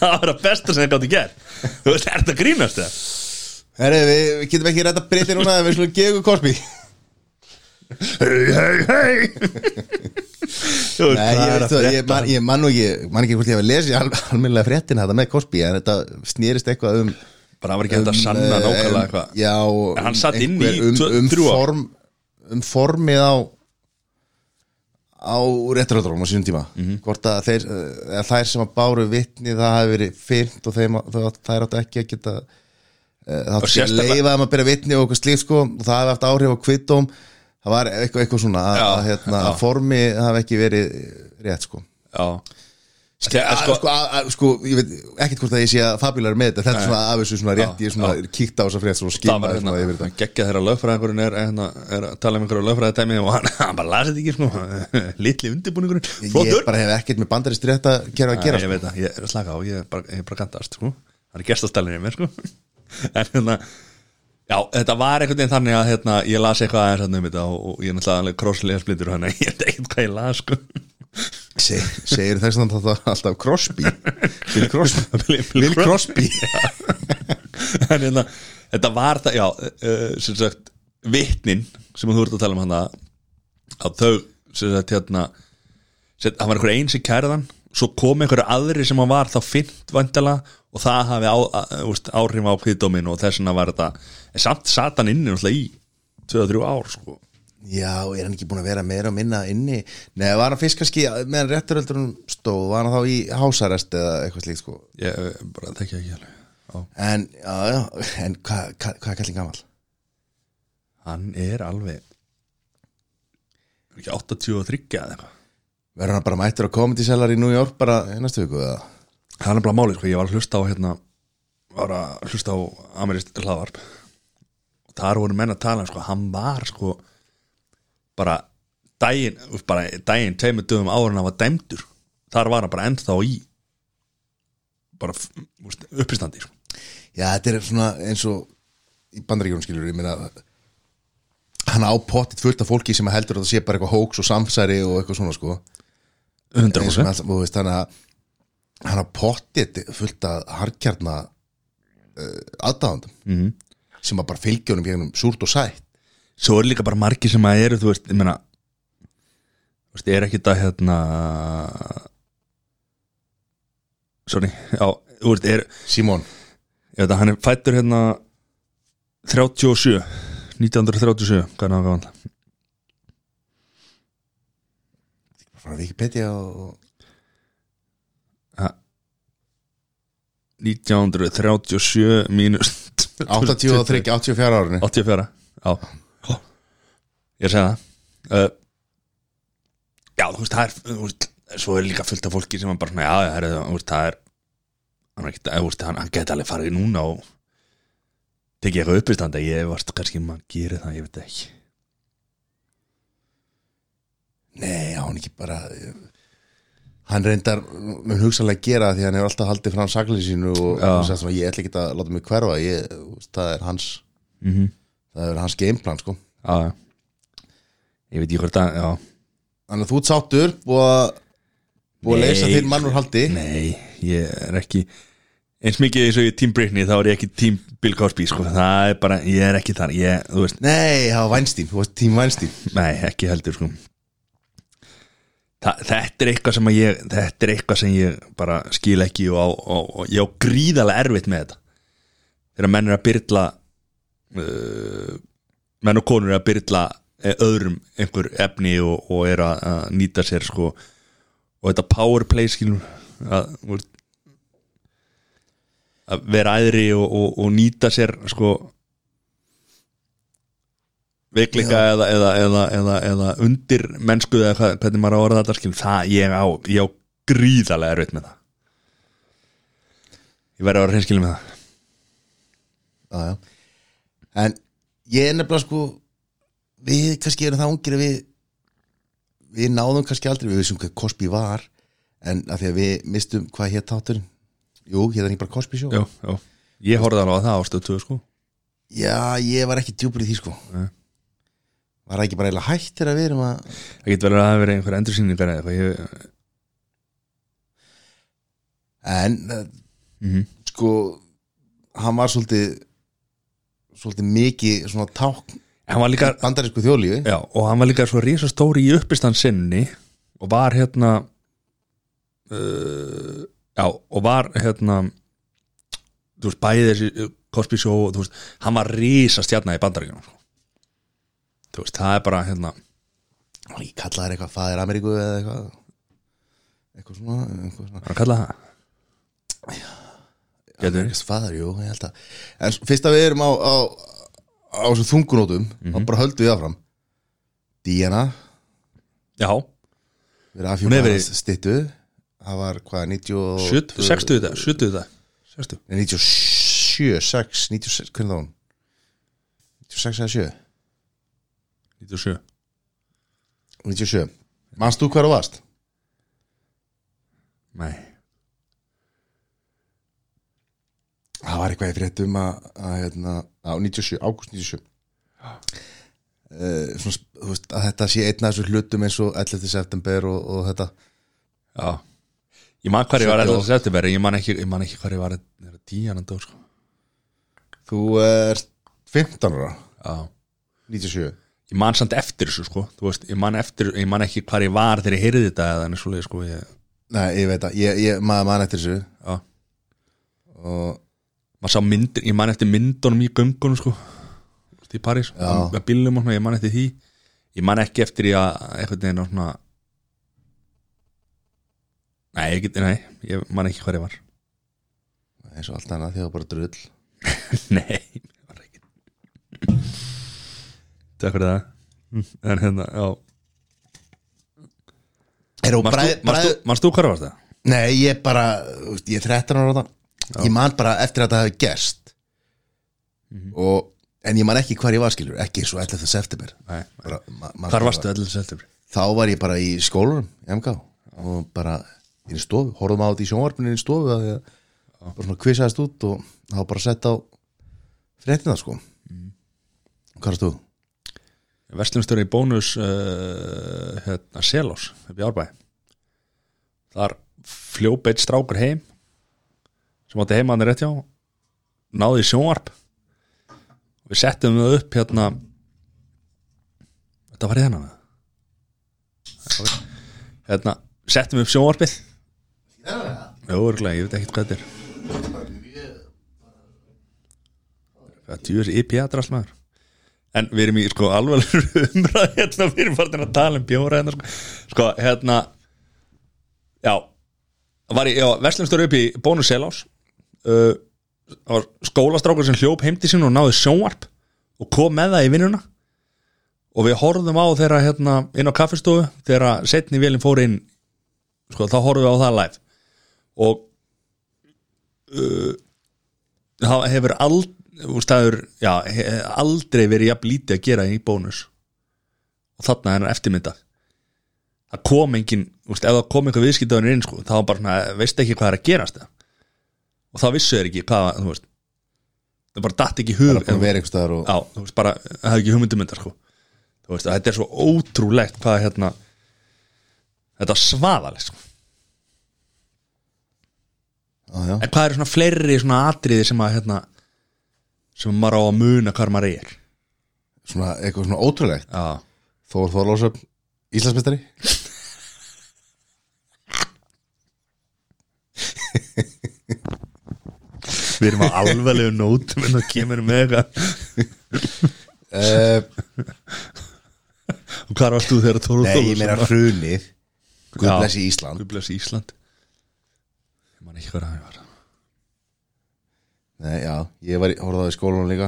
það var að besta sem þið gáttu gert þú veist, er þetta grínast það? Herri, við, við getum ekki rætt að breyta núna en við skulum gefa ykkur Cosby hei, hei, hei þú veist, Nei, ég, það er veit að þú, ég, frétta um- man, ég man nú ekki, man ekki hvort ég hef lesið al, almennilega fréttina þetta með Cosby en þetta snýrist eitthvað um bara var ekki hægt að sanna eh, nákvæmlega um, eitthvað Já, og En hann um sat inn í einhver- um, tvö- um, þrjú ár. form, um formið á á réttaröldrum á sínum tíma Mhm. hvort að þeir, eh, eða þær sem að báru vitni það hafi verið fyrnt og þeim, þau, átt- þær áttu ekki að geta eh, það áttu ekki að sérstaklega- leifa þeim að byrja vitni og okkur slíf sko og það hafi haft áhrif á kvittum það var eitthvað, eitthvað svona að, Já, að, hérna, að formi hafi ekki verið rétt sko já, Að, sko, að, að, sko, ég veit ekkert hvort að ég sé að fabílar með þetta, þetta er Nei. svona af þessu svona rétt Já, ég svona kíkt á þess að frétt svona það var skimaði svona yfir hérna, þetta geggja þeirra lögfræðingurinn er, er, hérna- er að tala um einhverja lögfræðitæmi og hann, hann bara lasi þetta ekki sko, litli undirbúningurinn, ég flottur bara hef ekkert með bandarist rétt að gera að Nei, gera ég sko. veit það, ég er slaka á, ég er bara, ég er bara kantast sko. það er gestastælinni mér sko. en hérna já, þetta var einhvern veginn þannig að hérna, ég las eitthvað aðeins hérna um þetta og, og ég er náttúrulega alveg krosslega splittur hann ég veit ekkert hvað ég las sko. Se, segir þess að það var alltaf Crosby Bill Crosby Bill- Bill Bill Crosby en hérna, þetta var það já, uh, sem sagt vitnin sem þú ert að tala um hann að þau, sem sagt hérna sem, það var einhver einn sem kærðan svo kom einhverju aðri sem hann var þá fint vandala og það hafi á, á, úst, áhrif á kviðdómin og þess vegna var þetta en samt satan inni náttúrulega í 2-3 ár sko já, er hann ekki búin að vera meira og minna inni nei, var hann fyrst kannski meðan rétturöldurinn stóð, var hann þá í hásarest eða eitthvað slíkt sko ég eh, bara þekki ekki alveg á. en, já, já, en hvað hva, hva er kallin gammal? hann er alveg er ekki 83 eða eitthvað verður hann bara mættur á Comedy Cellar í New York bara í næstu viku eða? það er nefnilega máli, sko, ég var að hlusta á hérna, var að hlusta á amerist hlaðvarp og þar voru menn að tala, um, sko, hann var sko, bara daginn, bara daginn, tveimur dögum áður en hann var dæmdur, þar var hann bara ennþá í bara f- úst, uppistandi, sko já, þetta er svona eins og í bandaríkjónum skilur, ég meina hann á pottit fullt af fólki sem heldur að það sé bara eitthvað hóks og samsæri og eitthvað svona sko eins og 100% með allt- þú veist, þannig að hann á pottit fullt af harkjarna uh, aðdáðandum Mhm. sem að bara fylgja honum gegnum súrt og sætt svo er líka bara margi sem að eru, þú veist, ég meina þú veist, er ekkit að hérna sorry, já, þú veist, er Simon, Ég veit að hann er fættur hérna 37 1937, hvað er hann gaman frá Wikipedia og 1937 mínus 83, 84 árinu 84, já Ég segi það uh, Já, þú veist, það er þú veist, svo er líka fullt af fólki sem er bara svona, já, já, herri, þú veist, það er hann, er ekki, þú veist, hann, hann geti alveg farið núna og tekið eitthvað uppistand að ég varst kannski maður gerir það, ég veit það ekki Nei, á hann ekki bara Hann reyndar, mun hugsanlega gera það því að hann hefur alltaf haldið fram saklið sínu og Já. hann sagði svona, ég ætla ekki að láta mig hverfa ég, þú veist, það er hans mm -hmm. það er hans gameplan, sko Já, já Ah. Ég veit ekki hvort að, já Þannig að þú ert sáttur og að búið að Nei, leysa þinn mann úr haldi Nei, ég er ekki eins mikið eins og ég er Team Britney þá er ég ekki Team Bill Cosby sko. það er bara, ég er ekki þar ég, þú veist, Nei, það var Weinstein, þú varst tím Weinstein nei, ekki heldur sko. Þa, þetta er eitthvað sem að ég þetta er eitthvað sem ég bara skil ekki og, á, og, og ég á gríðalega erfitt með þetta þegar menn er að byrla uh, menn og konur er að byrla öðrum einhver efni og, og er að, að nýta sér sko, og þetta powerplay skilum að, þú veist, að vera æðri og, og, og nýta sér sko veiklinga eða, eða, eða, eða, eða undir mennsku eða hvað, hvernig maður á að orða þetta skilum það ég á, ég á gríðarlega erfitt með það ég verði að vera hreinskilum með það já, já. En ég er nefnilega sko við kannski erum það ungir að við við náðum kannski aldrei við vissum hvað Cosby var en af því að við mistum hvað hétt þátturinn Jú, hétt hann ekki bara Cosby sjó já, já. ég horfði alveg að það ástöð 2 sko Já, ég var ekki djúpur í því sko Nei. Var það ekki bara eiginlega hægt þegar við erum að það getur verið að það hafi verið einhverja endursýningar eða eitthvað ég, En eh, Mhm. sko hann var svolítið svolítið mikið svona tákn hann var líka bandarísku þjóðlífi Já, og hann var líka svo risastóri í uppistansinni og var hérna uh, já, og var hérna þú veist, bæði þessi uh, Cosby Show, og, þú veist, hann var risastjarnar í bandaríkjunum sko. þú veist, það er bara hérna Ég kalla þær eitthvað Fadir Ameríku eða eitthvað eitthvað svona, eitthvað svona. hann kallaði það getur verið Amerikas Fadir, jú, ég held að Mhm. En s- fyrst að við erum á, á, á þessum þungunótum þá bara höldum við áfram Diana já, við erum Hún hefur afhjúpaðan verið- stittu það var hvað, 92 70, 60 þetta 70 þetta, 60 Nei, 97, 6, 96, hvernig þá hún 96 eða 7 97 97, manst þú hver þú varst? nei, það var eitthvað í fréttum að, að hérna, á 97, ágúst 97 Ah. uh, svona, sp- þú veist, að þetta sé einn af þessu hlutum eins og 11. september og, og þetta já ég man hvað ég var 70 11. september en ég man ekki, ég man ekki hvað ég var díjanan dó sko þú er 15 ára já 97 ég man samt eftir þessu sko þú veist, ég man, eftir, ég man ekki hvar ég var þegar ég heyrði þetta eða þannig svoleið sko ég, Nei, ég veit að, ég, ég, maður mann eftir þessu já, og maður sá myndir, ég man eftir myndunum í göngunum sko þú veist, í París, Já. með bílnum og svona, ég man eftir því ég man ekki eftir því að eitthvað neina svona nei, ég get, nei, ég man ekki hvar ég var eins og allt annað því að bara drull nei, ég var ekki takk fyrir það en hérna, já Er þú manst þú- manst þú- manst þú hvar var það? Nei, ég bara, þú veist, ég er 13 ára þarna Ég man bara eftir að það hafi gerst Mhm. og, En ég man ekki hvar ég var skilur Ekki svo 11. september Nei, bara, ma man- hvar varstu 11. september? Þá var ég bara í skólanum, MK Og bara inn í stofu Horfðum á þetta í sjónvarpinu inn í stofu að ég, Bara svona kvisaðist út og þá bara sett á Fréttina sko Mm. Hvað varst þú? Vestlumstöri í bónus uh, hérna, Selós upp í Árbæ þar fljóp eitt strákur heim sem átti heimann rétt hjá náði í sjónvarp við settum það upp hérna þetta var hérna, í þennan eða? hérna, settum upp sjónvarpið Jó, örgulega, ég veit ekkert hvað þetta er Hvað tjúr IPA drast maður En við erum í sko alveg umræð hérna, við erum farin að tala um bjóra hérna, sko. sko, hérna já var ég, já, verslumstöru upp í bónus selás uh, það var skólastrákur sem hljóp heimti sín og náði sjónvarp og kom með það í vinnuna og við horfðum á þeirra hérna inn á kaffistofu, þegar setni vélinn fór inn sko, þá horfðum við á það live og uh, það hefur aldrei Staður, já, he- aldrei verið jafn lítið að gera í bónus og þarna er hennar eftirmynda það kom engin, úst, ef það kom einhver viðskiptöðunir inn sko, þá var bara svona, veist ekki hvað er að gerast það. og það vissu þeir ekki hvað, þú veist það bara datt ekki í hug Bara búin að vera einhvers staðar og já, þú veist bara, það hefði ekki hugmyndum þetta sko þú veist, að þetta er svo ótrúlegt hvað hérna þetta er svaðalegt sko Já, Ah, já. en hvað eru svona fleiri svona atriði sem að hérna sem maður á að muna hvar maður er Svona eitthvað svona ótrúlegt já, Þór Þorlósöp, Íslandsmeistari við erum á alvarlegu nótum en það kemur með eitthvað uh, og hvað varst þú þegar Tóru Nei, ég meina hrunið Já. Guðbless í Ísland Guð bless Ísland ég man ekki hvað það var Nei, Eh, já, ég var, í- horfði á það í skólanum líka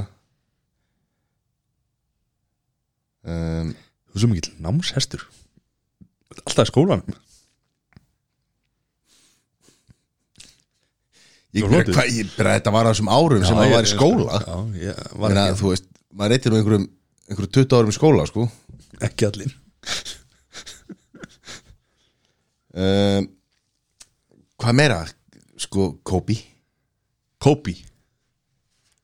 um, þú sem ekki námshestur alltaf í skólanum ég, Þú hlótið? hva, Eh, ég, bara, Þetta var á þessum árum sem maður var í skóla já, ég var Meina, ekki, Þú veist, maður reytir nú einhverjum einhverjum 20 árum í skóla, sko ekki allir um, Hvað meira? Sko, Kobe Kobe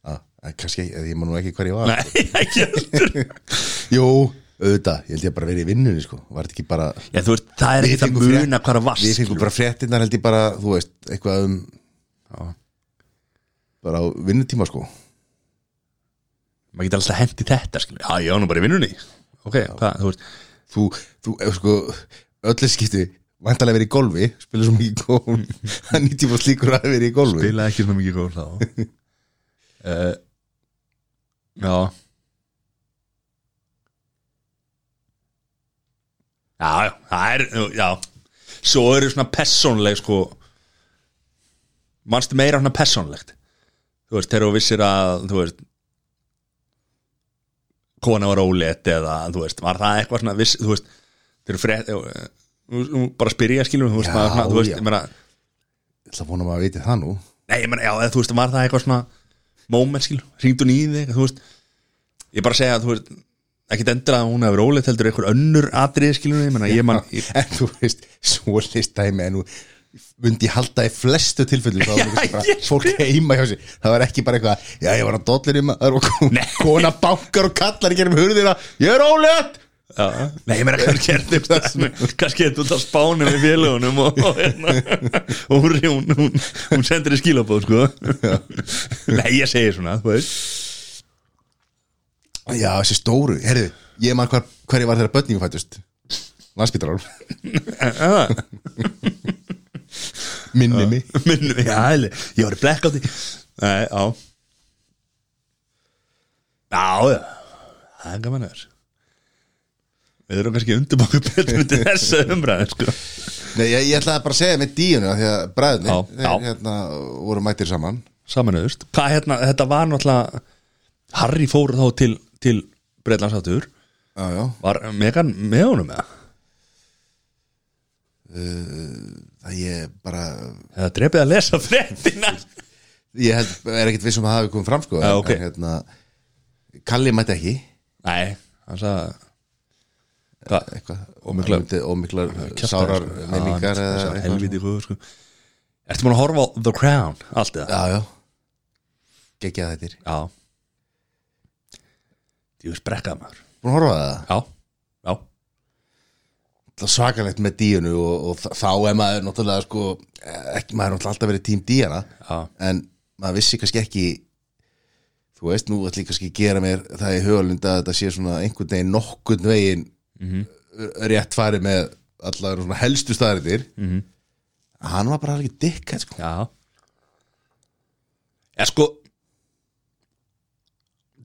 ah, eh, Kannski, eh, ég man nú ekki hver ég var nei, ekki allir Jú, auðvitað, ég held ég bara verið í vinnunni, sko Var þetta ekki bara já, þú veist, það er Við ekki að fengum frétt- muna hvað það Við varst fengum bara fréttinnar held ég bara, þú veist, eitthvað um Já. bara á vinnutíma sko maður getur alltaf hendi þetta skilur. já, ég var nú bara í vinnunni ok, hvað, þú veist Þú, þú, ef sko, öllu skipti væntalega verið í golfi, spilur svo mikið golf hann nýtti bara slíkur að verið í golfi spilaði ekki svona mikið gól þá uh, Já Já, já, það er, já Svo eru svona persónleg sko Manstu meira svona persónlegt Þú veist, þegar þú vissir að, þú veist kona var ólétt eða þú veist, var það eitthvað svona viss, þú veist, þeir eru frétt eh, nú- nú bara spyrja skilur þú veist, Já, maður, svona, þú veist, já. ég meina Ég ætla að vona að maður veitir það nú nei, ég meina, já, eða, þú veist, var það eitthvað svona moment skilur, hringdu hún í þig þú veist, ég bara segja, þú veist ekkit endur að hún hefur ólétt heldur einhver önnur atrið skilur, ég meina, ég man ég, En þú veist, svo listæmi En nú myndi ég halda í flestu tilfellum þá var Já, það kannski bara ég- fólk heima hjá sér það var ekki bara eitthvað, já ég var að dollir um að Nei. kona bankar og kallar í gerum hurðina, ég er ólegt Já, nei, ég meina kannski er þetta kannski er þetta út af spáni með félagunum og, og, hérna, og hún, hún, hún, hún sendir í skilabóð sko. nei, ég segi svona þú veist. Já, þessi stóru, herðu, ég man hvar, hver ég var þegar börningum fættust Landsbytarar, Ah, minni mig minnum mig, já, æli, ég var í blekk á því nei, á já, já það er gaman að vera við erum kannski undirbáku betur undir þessa umræðu sko. Nei, ég, ég ætlaði bara að segja með díunum Því að bræðinni, Já, þeir já. hérna voru mættir saman samanuðust hvað hérna, þetta var náttúrulega Harry fór þá til, til Breitlandsáttur Já, já, var Megan með honum eða? það ég bara eða drefið að lesa fréttina Ég held, er ekkit viss um að það hafi komið fram sko Já, en- ok. en, hérna, Kalli mætti ekki nei, hann sagði hvað, eitthvað, miklar- hann myndi- og miklar kjaftaði, sárar sko. minningar Já, eða hann- eitthvað helviti hvað sko. ertu múin að horfa á The Crown allt eða? Já, já, geggjað þetta er já ég veist brekkað maður Búin að horfa á það, já, já, það er svakalegt með díunu og, og þ- þá er maður náttúrulega sko, ekki, maður er náttúrulega alltaf verið tím díana já, en maður vissi kannski ekki þú veist, nú ætlum ég kannski að gera mér það í höfalund að þetta sé svona einhvern veginn nokkurn veginn Mhm. rétt farið með allar svona helstu staðaritir Mhm. hann var bara alveg dikka sko. já ég sko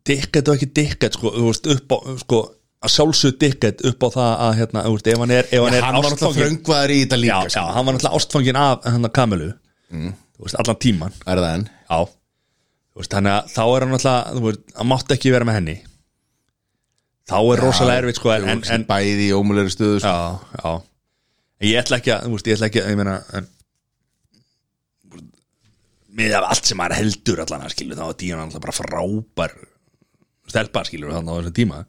dikkett og ekki dikkett sko, þú veist, upp á sko, að sjálfsög dikkett upp á það að hérna, þú veist, ef hann er, ef hann, hann er var náttúrulega ástfanginn- fröngvaður í sko. þetta líka já, já, hann var náttúrulega ástfangin af hann að Kamilu Mm. þú veist, allan tíman er það enn já, þú veist, þannig að þá er hann náttúrulega, þú veist, hann mátti ekki vera með henni þá er rosalega erfitt sko, en, en, en, en bæði í ómulegri stöðu sko. já, já En ég ætla ekki að, þú veist, ég ætla ekki að, ég meina en, með af allt sem maður heldur allan að skilur, þá er Díana alltaf bara frábær stelpa skilur þannig á þessum tíma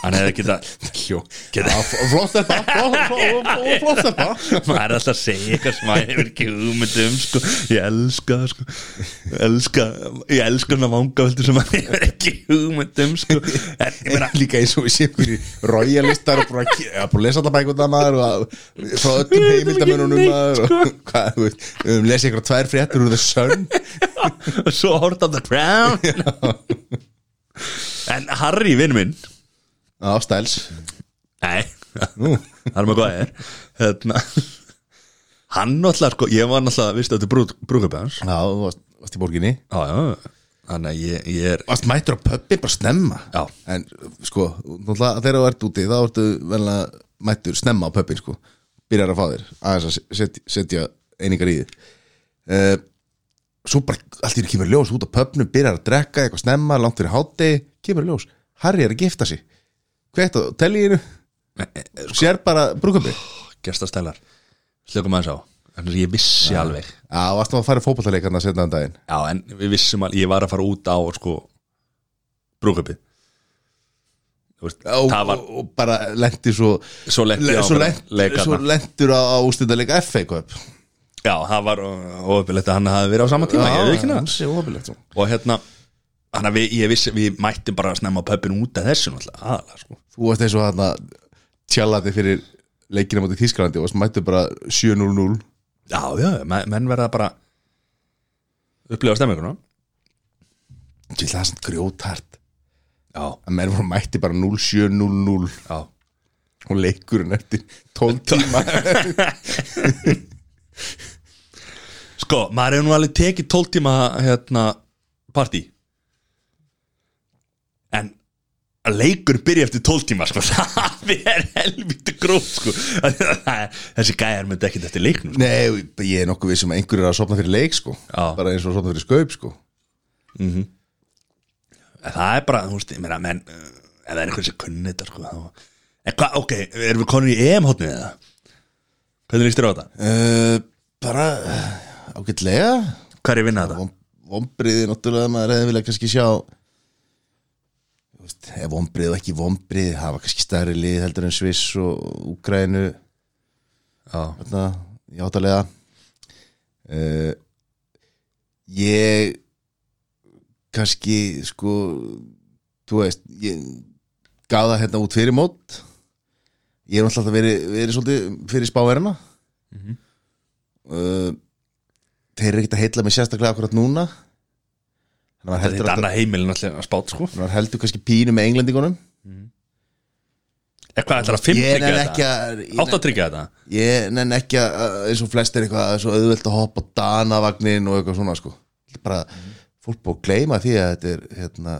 hann hefði ekki það Jó, já, f- flott er bara flott- flott- flott er bara maður er alltaf að segja eitthvað sem maður hefur ekki hugmyndum sko. ég elska það, sko. ég elska, ég elska hann að sem maður hefur ekki hugmyndum sko. en ég meina líka eins og við séum hverju royalistar og búin að, ke- að, búin að lesa alltaf bækunda maður og að, frá öllum Við veitum ekki heimildamönunum neitt, maður sko. og hvað, þú veist, við höfum lesið ykkur tvær fréttur úr The Sun og svo hort of the crown en Harry vinn minn á stæls nei, það er maður hvað er hérna hann náttúrulega sko, ég var náttúrulega vist að þetta brúkupið hans Já, þú varst, varst í borginni já, já, þannig að ég, ég er Varst mættur á pöppin bara snemma Já. En sko, náttúrulega þegar þú ert úti þá ertu vel að mættur snemma á pöppin sko Byrjar að fá þér aðeins að setja, setja einingar í þig uh, Svo bara allt í einu kemur ljós út á pöppnum Byrjar að drekka eitthvað snemma, langt fyrir hátti Kemur ljós, Harry er að gifta sig Hveitt á telliðinu eh, Sér bara brúkabbi gestastælar slökum aðeins á, þannig að ég vissi alveg Já, varst nú að fara í fótballtaleikana setna um daginn Já, en við vissum að ég var að fara út á sko, brúköpið veist, og, Það var og, og bara lendi svo Svo lenti le, á svo, bara lent, leik svo þarna. lentur á, á ústendaleika FA Cup Já, það var óöfilegt að hann hafði verið á sama tíma Ég veit ekki það hans sé sko. óhafilegt þú Og hérna, hann að við, ég vissi Við mættum bara að snemma pöppin út af þessu náttúrulega, aðalega, sko. varst eins og þarna tjallandi fyrir leikina mútið Þískalandi og varst mættu bara 7-0-0 Já, já, men- menn verða bara Upplifa stemminguna Ég ætla það er svona grjótart Já, að menn voru mætti bara 0-7-0-0 já og leikurinn eftir 12 tíma Sko, maður hefur nú alveg tekið 12 tíma hérna, partí En að leikur byrja eftir 12 tíma sko, það er helviti gróf sko. þessi gæjar myndi ekkert eftir leiknum sko. Nei, ég er nokkuð um við sem einhverjur er að sopna fyrir leik sko Já. bara eins og að sopna fyrir skaup sko En það er bara, þú veist, ég meina, menn eh, ef það er einhver sem kunni þetta, sko þá... en hvað, ok, erum við konur í EM-hóttnið eða? Hvernig líst þér á þetta? uh, Bara uh, eh, ágætlega Hvað er ég vinna þetta? Vom, Vombriði náttúrulega að maður hefði vilja kannski sjá Þú veist, Ef vombriði og ekki vombriði hafa kannski stærri lið heldur en Sviss og Úgrænu Já, þarna, játalega uh, ég kannski sko þú veist ég gaf það hérna út fyrir mót ég er alltaf verið, verið svolítið fyrir spáverina Mhm. uh, þeir eru ekkert að heilla mig sérstaklega akkurat núna þannig að maður þetta heldur, er alltaf, annað heimilin alltaf að spátt, sko maður heldur kannski pínu með englendingunum En hvað ætlar að ég fimmtryggja nenn ekki þetta? að ég nenn- Áttatryggja þetta? ég nenn ekki að eins og flest er eitthvað svo auðvelt að hoppa á danavagnin og eitthvað svona sko bara Mhm. fólk búið að gleyma því að þetta er hérna,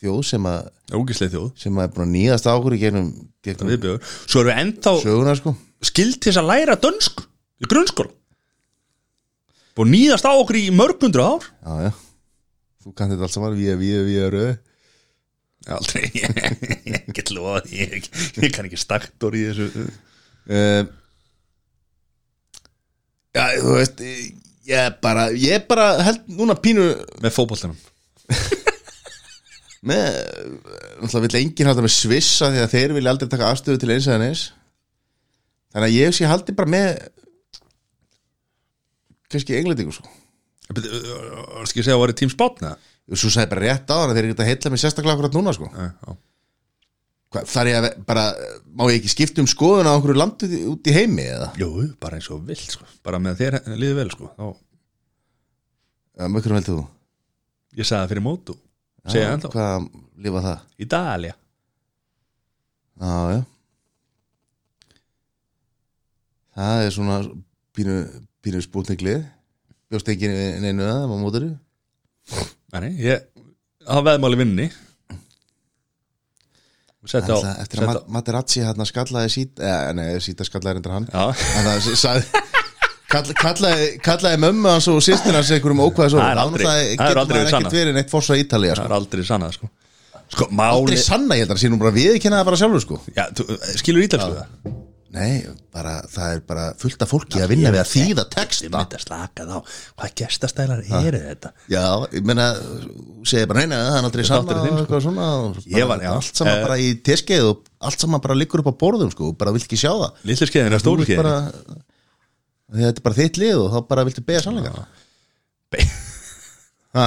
þjóð sem að Ógisleið þjóð sem að er búin að nýðast á okkur í gegnum, gegnum Viðbjör. Svo erum við ennþá söguna sko skild til þess að læra dönsk í grunnskóla Búið að nýðast á okkur í mörg hundru ár já, já. þú kannt þetta alls saman við, við, við, röð Aldrei, ég, ég get lofa því ég, ég kann ekki staktor í þessu uh, já, þú veist ég bara, ég bara held núna pínu Með fótboltanum með, náttúrulega vill enginn halda með svissa því að þeir vilja aldrei taka afstöðu til eins eða neins þannig að ég sé haldi bara með kannski englendingu sko Það skal ég segja að það var í tím spátna og svo sagði bara rétt á hann að þeir eru geta heilla með sérstaklega akkurat núna sko Hva, þar ég að ve- bara, má ég ekki skipta um skoðun á einhverju landu út í- út í heimi eða Jú, bara eins og vilt sko. Bara með þér liði vel sko. Þá, Eða með hverjum heldur þú? Ég sagði það fyrir mótu Segja það ennþá Hvað lifa það? Ídalia Já, já Það er svona pínu, pínu spútninglið Bjóst enginn við neinu að það, maður mótur Nei, ég Það veðmáli vinni Setta á Ætla, eftir að setta- Ma- Materazzi hérna skallaði síta eh, Nei, síta skallaði reyndar hann Já, En það sagði kall, kallaði, kallaði mömmu hans og sýstina hans einhverjum ókvæðis Það er aldrei- það er aldrei Það er sannað. ekkert verið neitt fórsa Ítalía það sko. er aldrei sannað sko. Sko, máli Aldrei sanna, ég held að það sé nú bara viðkynna það bara sjálfur sko. Já, þú, skilur ítalsku það? Nei, bara, það er bara fullt af fólki að vinna við að þýða Ég texta myndi að slaka þá Hvað gestastælar eru þetta? Já, ég meina, þú segir bara neina það er aldrei sanna aldrei þinn, og eitthvað svona og Ég bara, var- já. allt saman Eh. bara í teskið og allt saman bara liggur upp á borðum sko, og bara vilt ekki sjá það Lítið skeiðin er Þú stóru vilt skeiðin bara, því að þetta er bara þitt lið og þá bara viltu beða sannleikar Be- Ha.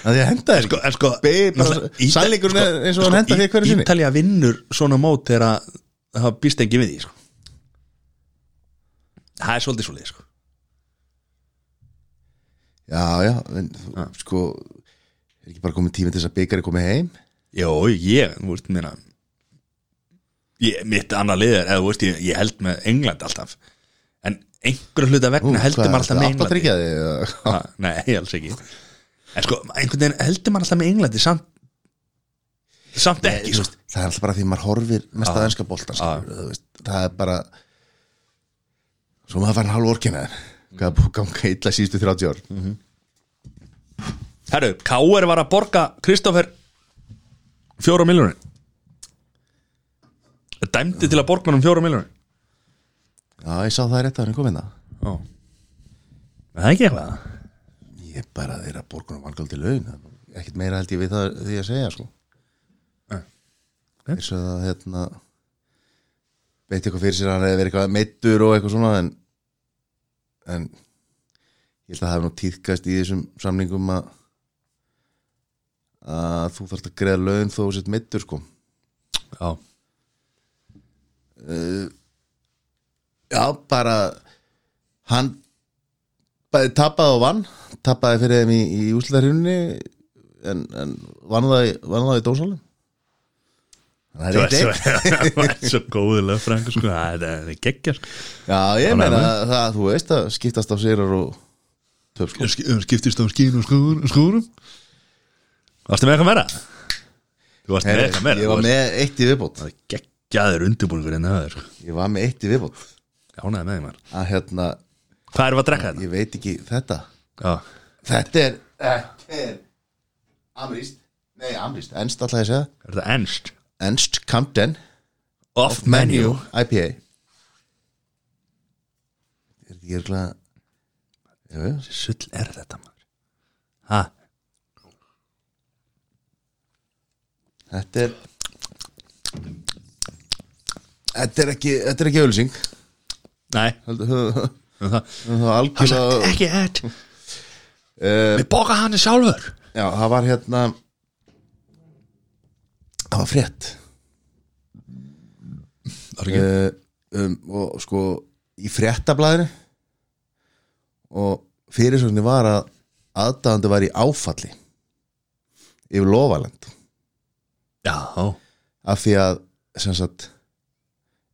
að því að henda þér sko, en sko Be- bara- sannleikurinn er eins og hann hentar þér hverju sinni. Ítalja sko, vinnur svona mót þegar að það býst engin við því sko. það er svolítið svolítið sko. já, já, en, þú- sko er ekki bara komið tími til þess að byggari komið heim já, ég, þú veist, minna ég, mitt annað lið er eða, þú veist, ég, ég held með England alltaf en einhverju hluta vegna heldur maður alltaf alltaf með Englandi tryggjaði já, Ha, nei, alls ekki en sko, einhvern veginn heldur maður alltaf með Englandi samt samt Nei, ekki, þú sko. veist, það er alltaf bara því maður horfir mest að ennska boltan Já. skilur, þú veist, það er bara svo maður fann hálf orkinaðir hvað er búið að ganga illa síðustu 30 ár herru, K.R. var að borga Kristoffer fjóra miljónir dæmdi til að borga hann um fjóra miljónir já ég hérna. sá það rétt að hann komið það já það er ekki eitthvað ég er bara þeirra borgunum vangaldi laun það er ekkert meira held ég við það því að segja sko Nei. Nei. eins og það hérna veit eitthvað fyrir sér að hann hefði verið eitthvað meittur og eitthvað svona en, en ég held að það hefði nú týðkast í þessum samningum að að þú þarft að greiða laun þó þú sett meittur sko já, Já, bara hann bæði tapaði og vann tapaði fyrir þeim í, í úsliðarhjunni en, en vann það í, vann það í dósalum Það er eitt eitt það er svo góð löffrængu sko, það er- það er geggja sko. Já, ég Ánægður meina með. að það, þú veist að skiptast á sérar og töf sko skiptist á skín og skúrum skúrum varstu með eitthvað meira? þú varst með Herri, eitthvað meira Ég þú var varst- með eitt í viðbót það er geggjaður undirbúningur en það er sko. Ég var með eitt í viðbót ánæði með því maður að hérna, hérna? hvað erum við að drekka þetta? ég veit ekki þetta já Þetta er Þetta er Amrist Nei, Amrist, enst alltaf ég að segja Er það ennst? Enst Camden Off menu IPA Er ekki örgulega Jú, jú, Sull er þetta maður Ha? þetta er Þetta er ekki, þetta er ekki ölsing Nei Það um það. var algjörlega Ekki þetta uh, Við boka hann sjálfur Já, það var hérna Það var frétt Það er ekki uh, um, Og sko Í fréttablaðinu Og fyrirsögni var að Aðdáðandi var í áfalli Yfir lofaland Já Af því að sem sagt,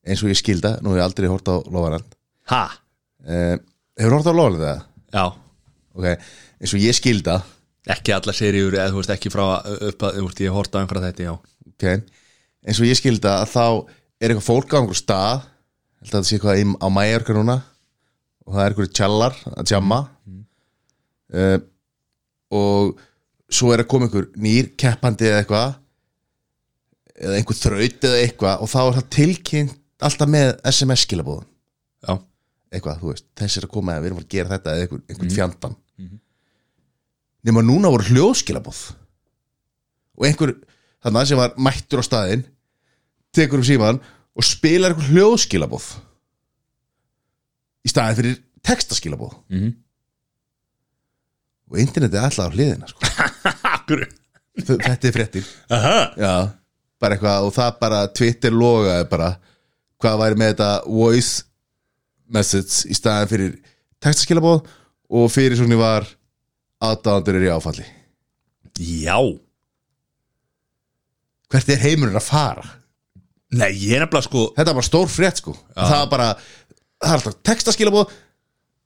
Eins og ég skilda Nú hef ég aldrei hort á lofaland Ha? uh, Hefur hort á lofaland það? Já Okay. Eins og ég skilda Ekki alla seríur eða þú veist ekki frá uh, upp að þú veist ég horta einhverja þetta já okay. eins og ég skildi að þá er eitthvað fólk á einhver stað held að það sé eitthvað í- á Mallorca núna og það er einhverju tjallar að tjamma uh, og svo er að koma einhver nýr keppandi eða eitthvað eða einhver þraut eða eitthvað og þá er það tilkynnt alltaf með SMS skilabóðum Já eitthvað, þú veist, þessi er að koma eða við erum að gera þetta eða einhvern, einhvern fjandan nema núna voru hljóðskilabóð og einhver þannig sem var mættur á staðinn tekur um síman og spilar einhver hljóðskilabóð í staðin fyrir textaskilabóð Mhm. og internetið er alltaf á hliðina sko. Akkur Þ- þetta er fréttir Aha Já, bara eitthvað og það bara Twitter logaði bara hvað væri með þetta voice message í staðan fyrir textaskilabóð og fyrir svona var aðdáðandur er í áfalli Já Hvert er heimurinn að fara? Nei ég er nefnilega sko Þetta var bara stór frétt sko Það var bara, það er alltaf textaskilabóð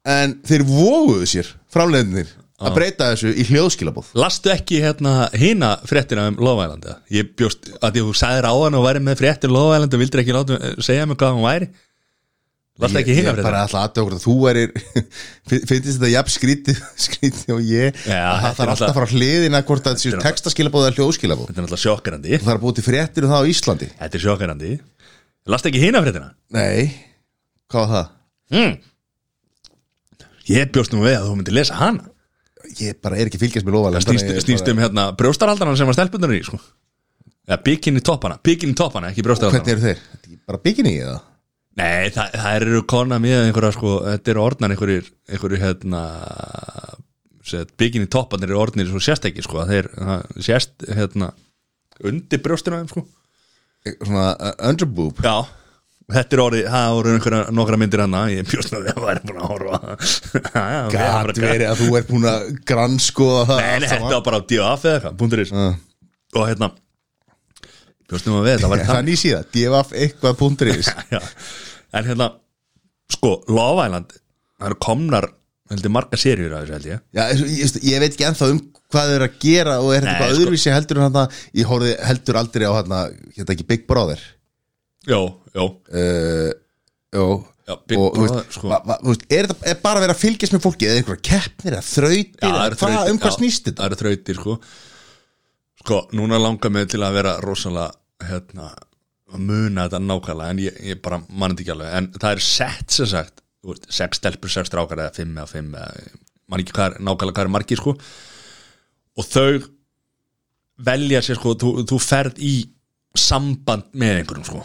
en þeir voguðu sér framleiðinir að breyta þessu í hljóðskilabóð Lastu ekki hérna hina fréttina um Lofælandi? Ég bjóst að því að þú sagðir á hann og væri með fréttir Lofælandi og vildir ekki láta, eh, segja mig hvað hún væri Lastu ekki Ég hina er bara fréttina? alltaf aðdjókur að þú erir finnst þetta jafn skrítið, skrítið og ég Já, að það þetta er þarf alltaf að fara á hliðina hvort að Þetta þessu er textaskilabóð eða hljóðskilabóð Þetta er náttúrulega sjokkerandi Það er að búið til fréttir um það á Íslandi Þetta er sjokkerandi Lastu ekki hina fréttina? Nei, hvað var það? Hmm. Mm. Ég bjóst nú við að þú myndir lesa hana Ég bara er ekki að fylgjast með lofa Snýst, snýst um hérna brjóstarhaldarna sem var stelpundarinn í sko Eða bikini toppana, bikini toppana, ekki Hvernig brjóstarhaldarna eru þeir? Þetta er ekki Bara bygginni í það? Nei, það, það eru kona með einhverja sko, þetta eru orðnar einhverjir, einhverjir hérna set, bikini topparnir eru orðnir svo sérst ekki sko, þeir það sérst hérna undir brjóstinu á þeim sko Svona uh, underboob Já, þetta eru orðið, það voru einhverja nokkra myndir hana, ég bjóst að það væri búin að horfa Gat verið að þú er búin að grannskoða það Nei, allt nei, saman. þetta var bara á D.A.F. eða eitthvað, búndur ís Já. Og hérna, bjóst nú að við, það Er Það væri er það ný síða, divaf eitthvað punktur í þess Já, en hérna sko, Love Island það eru komnar, heldur, marga seríur af þessu held ég Já, eins og- ég, ég veit ekki ennþá um hvað þau eru að gera og er þetta Nei, bara sko. öðruvísi heldur en hann ég horfði heldur aldrei á hann hérna ekki Big Brother Jó, jó, uh, Jó Já, Big og, þú Brother, veist, sko. va, va, þú veist, er þetta er bara að vera að fylgjast með fólki eða einhverja keppnir eða þrautir það eða eru hvað, þrautir, um hvað já, snýst þetta Það eru þrautir, sko Sko, núna langar mig til að vera rosalega, hérna að muna þetta nákvæmlega, en ég, ég bara mann þetta ekki alveg, en það er sett sem sagt, þú veist, sex stelpur, sex strákar eða fimm eða fimm, eða, mann ekki hvað er nákvæmlega hvað er margir, sko og þau velja sér, sko, þú, þú ferð í samband með einhverjum, sko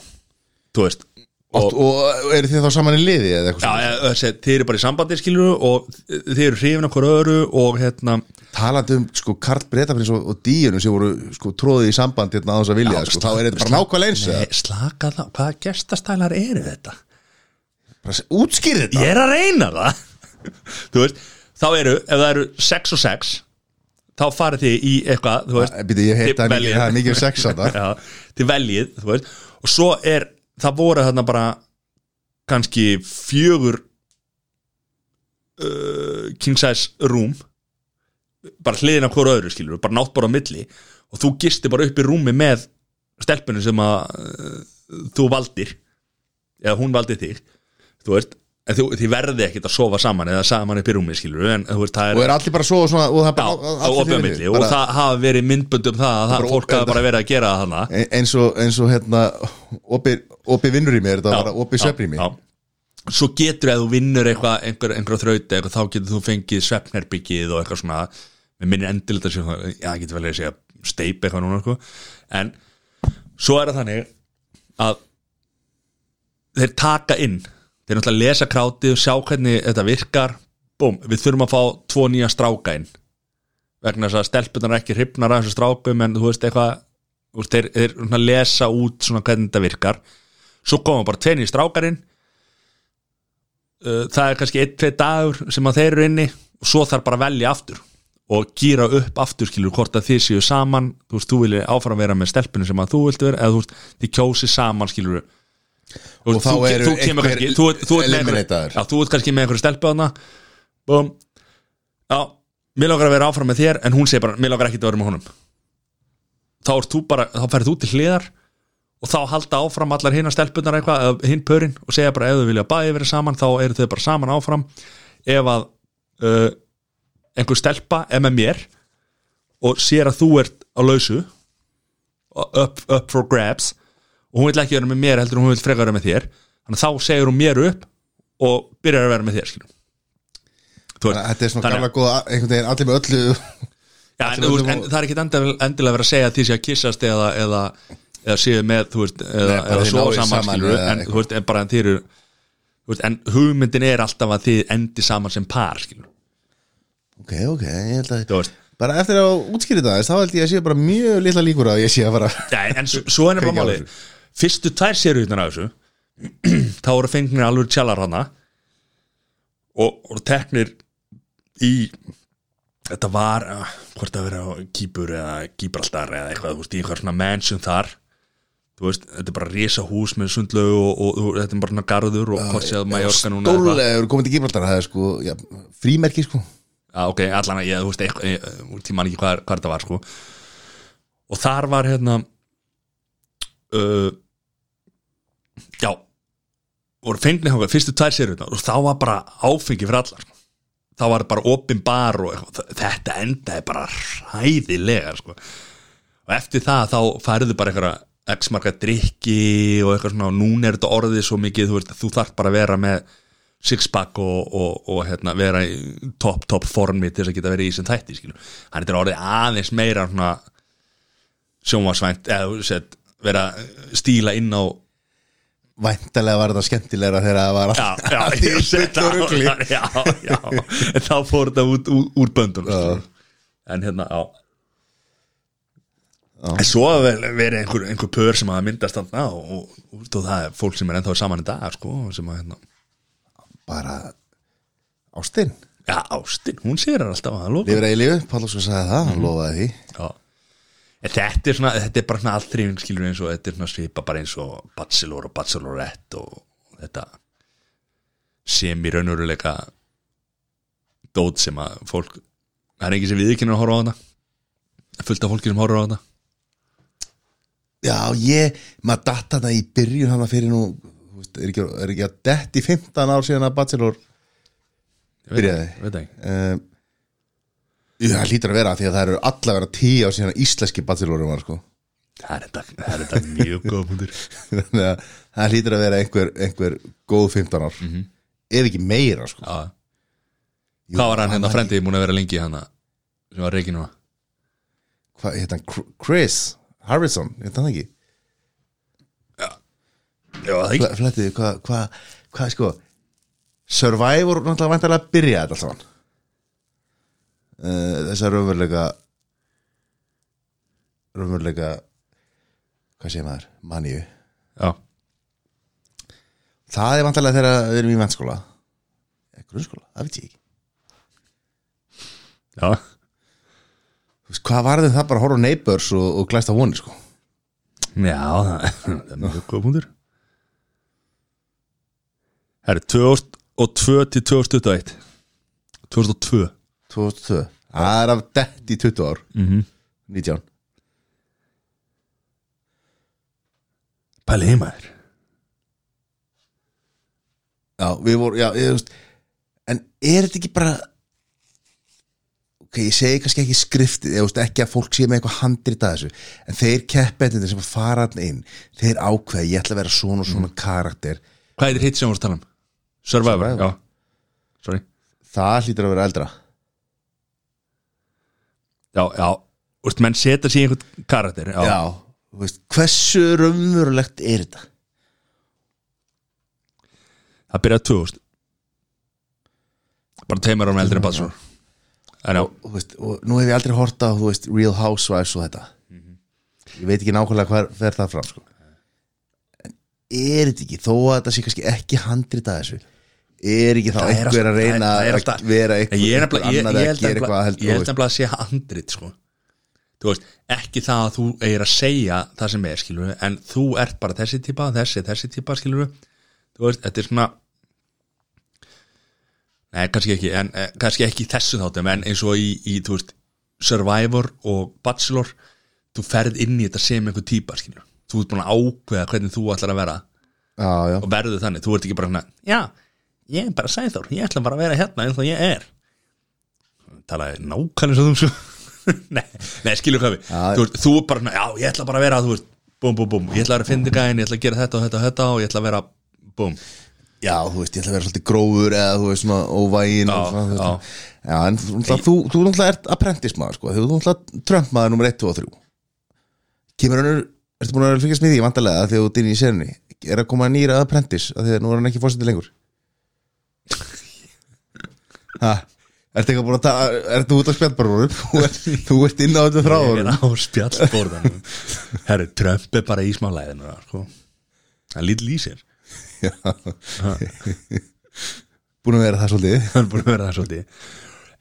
þú veist, og, og eru þið þá saman í liði eða eitthvað Já, svona? ja, þessi, þeir eru bara í sambandi skilur og þeir eru hrifin okkur öru og hérna, talandi um sko Karl Bretafins og, og Díunu sem voru sko tróðið í samband hérna á þess að vilja Já, sko, slá- þá er þetta bara slá- nákvæmlega eins nei, eða? Eh, slaka það, hvaða gestastælar eru þetta? Bara s- útskýrðu þetta Ég er að reyna það Þú veist, þá eru, ef það eru 6 og 6 þá farið þið í eitthvað, þú veist Býtu, ég hef þið það mikið, veljið. það er mikið um sex þetta Já, þið veljið, þú veist og svo er, það voru þarna bara kannski fjögur uh, king size room bara hliðin af hvora öðru skilur bara nátt bara á milli og þú gisti bara upp í rúmi með stelpunum sem að uh, þú valdir eða hún valdi þig þú veist, en þú, þið verði ekkit að sofa saman eða saman upp í rúmi skilur en þú veist það og er, er allir bara svo og svona og það er já, bara á allir opið á fyrir milli því. og Bara það hafa verið myndbönd um það að það Bara fólk opið- hafa bara verið að gera það hana e- eins og, eins og hérna opið, opið vinnur í mér, þetta var bara opið svefn í mér já. svo getur ef þú vinnur eitthvað einhver, einhver þraut eitthvað, þá getur þú fengið svefnherbyggið og eitthvað svona við minnir endilega þetta sé það- já, það getur vel að segja steip eitthvað núna eitthvað. en svo er það þannig að þeir taka inn þeir náttúrulega lesa krátið og sjá hvernig þetta virkar búm, við þurfum að fá tvo nýja stráka inn vegna þess að stelpunar er ekki hrifnar af þessu strákum en þú veist eitthvað þú veist, þeir, þeir svona lesa út svona hvernig þetta virkar svo koma bara tveir nýja strákarinn Uh, það er kannski einn, tvei dagur sem að þeir eru inni og svo þarf bara að velja aftur og gýra upp aftur skilur hvort að þið séu saman þú veist, þú vilja áfram vera með stelpunum sem að þú vilt vera eða þú veist, þið kjósi saman skilur og þá eru þú kemur einhver kannski þú, ert- þú, ert með einhver- eliminator. já, þú ert kannski með einhverju stelpu hana búm já, mér langar að vera áfram með þér en hún segir bara, mér langar ekki að vera með honum þá ert þú bara, þá ferð þú til hliðar og þá halda áfram allar hinn að stelpunar eitthvað, eða hinn pörin og segja bara ef þau vilja bæði verið saman þá eru þau bara saman áfram ef að uh, einhver stelpa er með mér og sér að þú ert á lausu og up, up for grabs og hún vil ekki vera með mér heldur en hún vil frekar vera með þér þannig að þá segir hún mér upp og byrjar að vera með þér skilum Þannig að þetta er svona gamla góða einhvern veginn allir með öllu Já, en, þú veist, en það er ekkit endilega, endilega verið að segja að því sé að kissast eða, eða, eða séu með, þú veist, eða, Nei, bara eða þið sofa náið saman, saman skilur eða en, eitthvað. þú veist, en bara en þið eru þú veist, en hugmyndin er alltaf að þið endi saman sem par, skilur ok, ok, ég held að þú veist, bara eftir að útskýri það aðeins, þá held ég að sé bara mjög litla líkur á að ég sé að fara ja, en svo, svo er Kveikja bara á máli fyrstu tvær sériutnar af þessu þá eru fengnir alveg tjallar hana og, og teknir í þetta var, ah, hvort að vera á Kýpur eða Kýbraldar eða eitthvað, þú veist, í einhver svona mansion þar þú veist, þetta er bara risa hús með sundlögu og, og, og þetta er bara svona garður og hvort séð Mallorca núna eða eitthvað. stólulegur komið til Gibraltar það er sko, já, frímerki sko Já, ok, allan að ég, þú veist, eitthvað, ég, ég man ekki hvað, hvað þetta var, sko. Og þar var, hérna, uh, já, voru fengnið hóka, fyrstu tvær sérjurnar og þá var bara áfengi fyrir allar, sko. Þá var bara opin bar og eitthvað, þetta endaði bara hræðilega, sko. Og eftir það, þá færðu bara eitthvað x-marka drikki og eitthvað svona og núna er þetta orðið svo mikið, þú veist, þú þarf bara að vera með sixpack og, og, og hérna, vera í topp, topp formi til þess að geta verið í sem þætti skilur. hann er orðið aðeins meira svona sjónvarsvænt eða set, vera að stíla inn á væntalega var þetta skemmtilegra þegar það var já, já, allt í ég set bull og rugli. já, já, já en þá fór þetta út, út, úr böndunum skilur. en hérna, já en svo hafa vel verið einhver, einhver pör sem að myndast þarna og, og, og, og það er fólk sem er ennþá saman í dag sko, sem að hérna bara ástinn Já, Ástin, hún sér alltaf að loka lifir eilíu, Pállóskar sagði það, Mhm. hann lofaði því Já. En Þetta er, svona, þetta er bara svona allþrýfing skilur eins og þetta er svona svipa bara eins og bachelor og bachelorette og þetta sem í raunuruleika dót sem að fólk það er engin sem við ekki að horfa á þetta Það er fullt af fólki sem horfa á þetta já, ég, maður datt hana í byrjun hana fyrir nú þú veist, er ekki, er ekki að dett í 15 ár síðan að Bachelor Ég veit- Byrjaði. ég veit ekki. um, það hlýtur að vera því að það eru allavega tíu ár síðan að íslenski Bachelorum var sko Það er þetta- það er þetta mjög góð punktur Þannig að það hlýtur að vera einhver, einhver góð 15 ár ef ekki meira sko. Já. Hvað var hann hérna var frendið múin að vera lengi hérna sem var reikin núna hvað heit hann, Cr- Chris Harrison, heit hann ekki Já, það ekki Fl- flettiði, hvað hva, hva, sko Survivor náttúrulega vantarlega að byrja þetta allt saman uh, þessar raunveruleika raunveruleika hvað segir maður, manju Já, það er vantarlega þegar við erum í mennskóla eða grunnskóla, það veit ég ekki já, Þú veist, hvað varðið það bara að horfa á neighbors og, og glæsta vonir sko Já, það það er mjög góð punktur Herri, 2002 til 2021 2002 2002 Það er af dett í 20 ár mm 19 Pæli heimaður Já, við vorum, já, ég veist En er þetta ekki bara Ok, ég segi kannski ekki skriftið Ég veist ekki að fólk sé með eitthvað handrit að þessu En þeir keppetindir sem fara hann inn Þeir ákveða, ég ætla að vera svona og svona karakter Hvað er þér hitt sem voru að tala um? Survivor, Survivor. já Sorry Það hlýtur að vera eldra Já, já, úrst, menn setja sér í einhvern karakter Já, Já, þú veist, hversu raunverulegt er þetta? það byrjaði 2000 Bara teimur án eldri en Batsson En já, Þú veist, og nú hef ég aldrei hort á, þú veist, Real Housewives og þetta Ég veit ekki nákvæmlega hvað fer það fram, sko En er þetta ekki, þó að þetta sé kannski ekki handrit að þessu Er ekki þá Það er einhver að alltaf- reyna það er- það er alltaf- að vera einhver, ég er nefnilega ég, einhver annar ég að held gera eitthvað nefnilega- held, ég þú held veist. nefnilega að sé handrit sko. þú veist, ekki það að þú eigir að segja það sem er skilur en þú ert bara þessi típa, þessi, þessi típa skilur þú veist, þetta er svona nei, kannski ekki en eh, kannski ekki í þessu þáttum en eins og í, í þú veist, Survivor og Bachelor, þú ferð inn í þetta sem einhver típa skilur þú ert búin að ákveða hvernig þú ætlar að vera Já, já, og verður þannig, þú ert ekki bara hérna já, ég er bara sæþór, ég ætla bara að vera hérna eins og ég er talaði nákvæmlega svo þú svo nei, nei, skilur hvað við Já. þú, veist, þú er bara, svona, já, ég ætla bara að vera þú veist, búm, búm, búm, ég ætla að vera að fyndi gæðin ég ætla að gera þetta og þetta og þetta og ég ætla að vera búm, já, þú veist, ég ætla að vera svolítið grófur eða þú veist svona óvægin og Já, svona, þú veist. já. já, en þú, þú, þú, þú náttúrulega ert apprentice maður, sko Þú náttúrulega Trump maður nummer 1, 2 og 3 Kemur hann, ertu búin að fylgjast með því vantarlega þegar þú dýrni í sérni Er að koma nýra apprentice, af því að nú er hann ekki fórsetið lengur Ha, ertu eitthvað búin að ta- ertu út á spjallbarunum Þú ert- Þú ert inn á þetta frá ég er honum á spjallborðan herri, Trump er bara í smá læðinu sko. hann lítið í sér Já. Búin að vera það svolítið hann er búin að vera það svolítið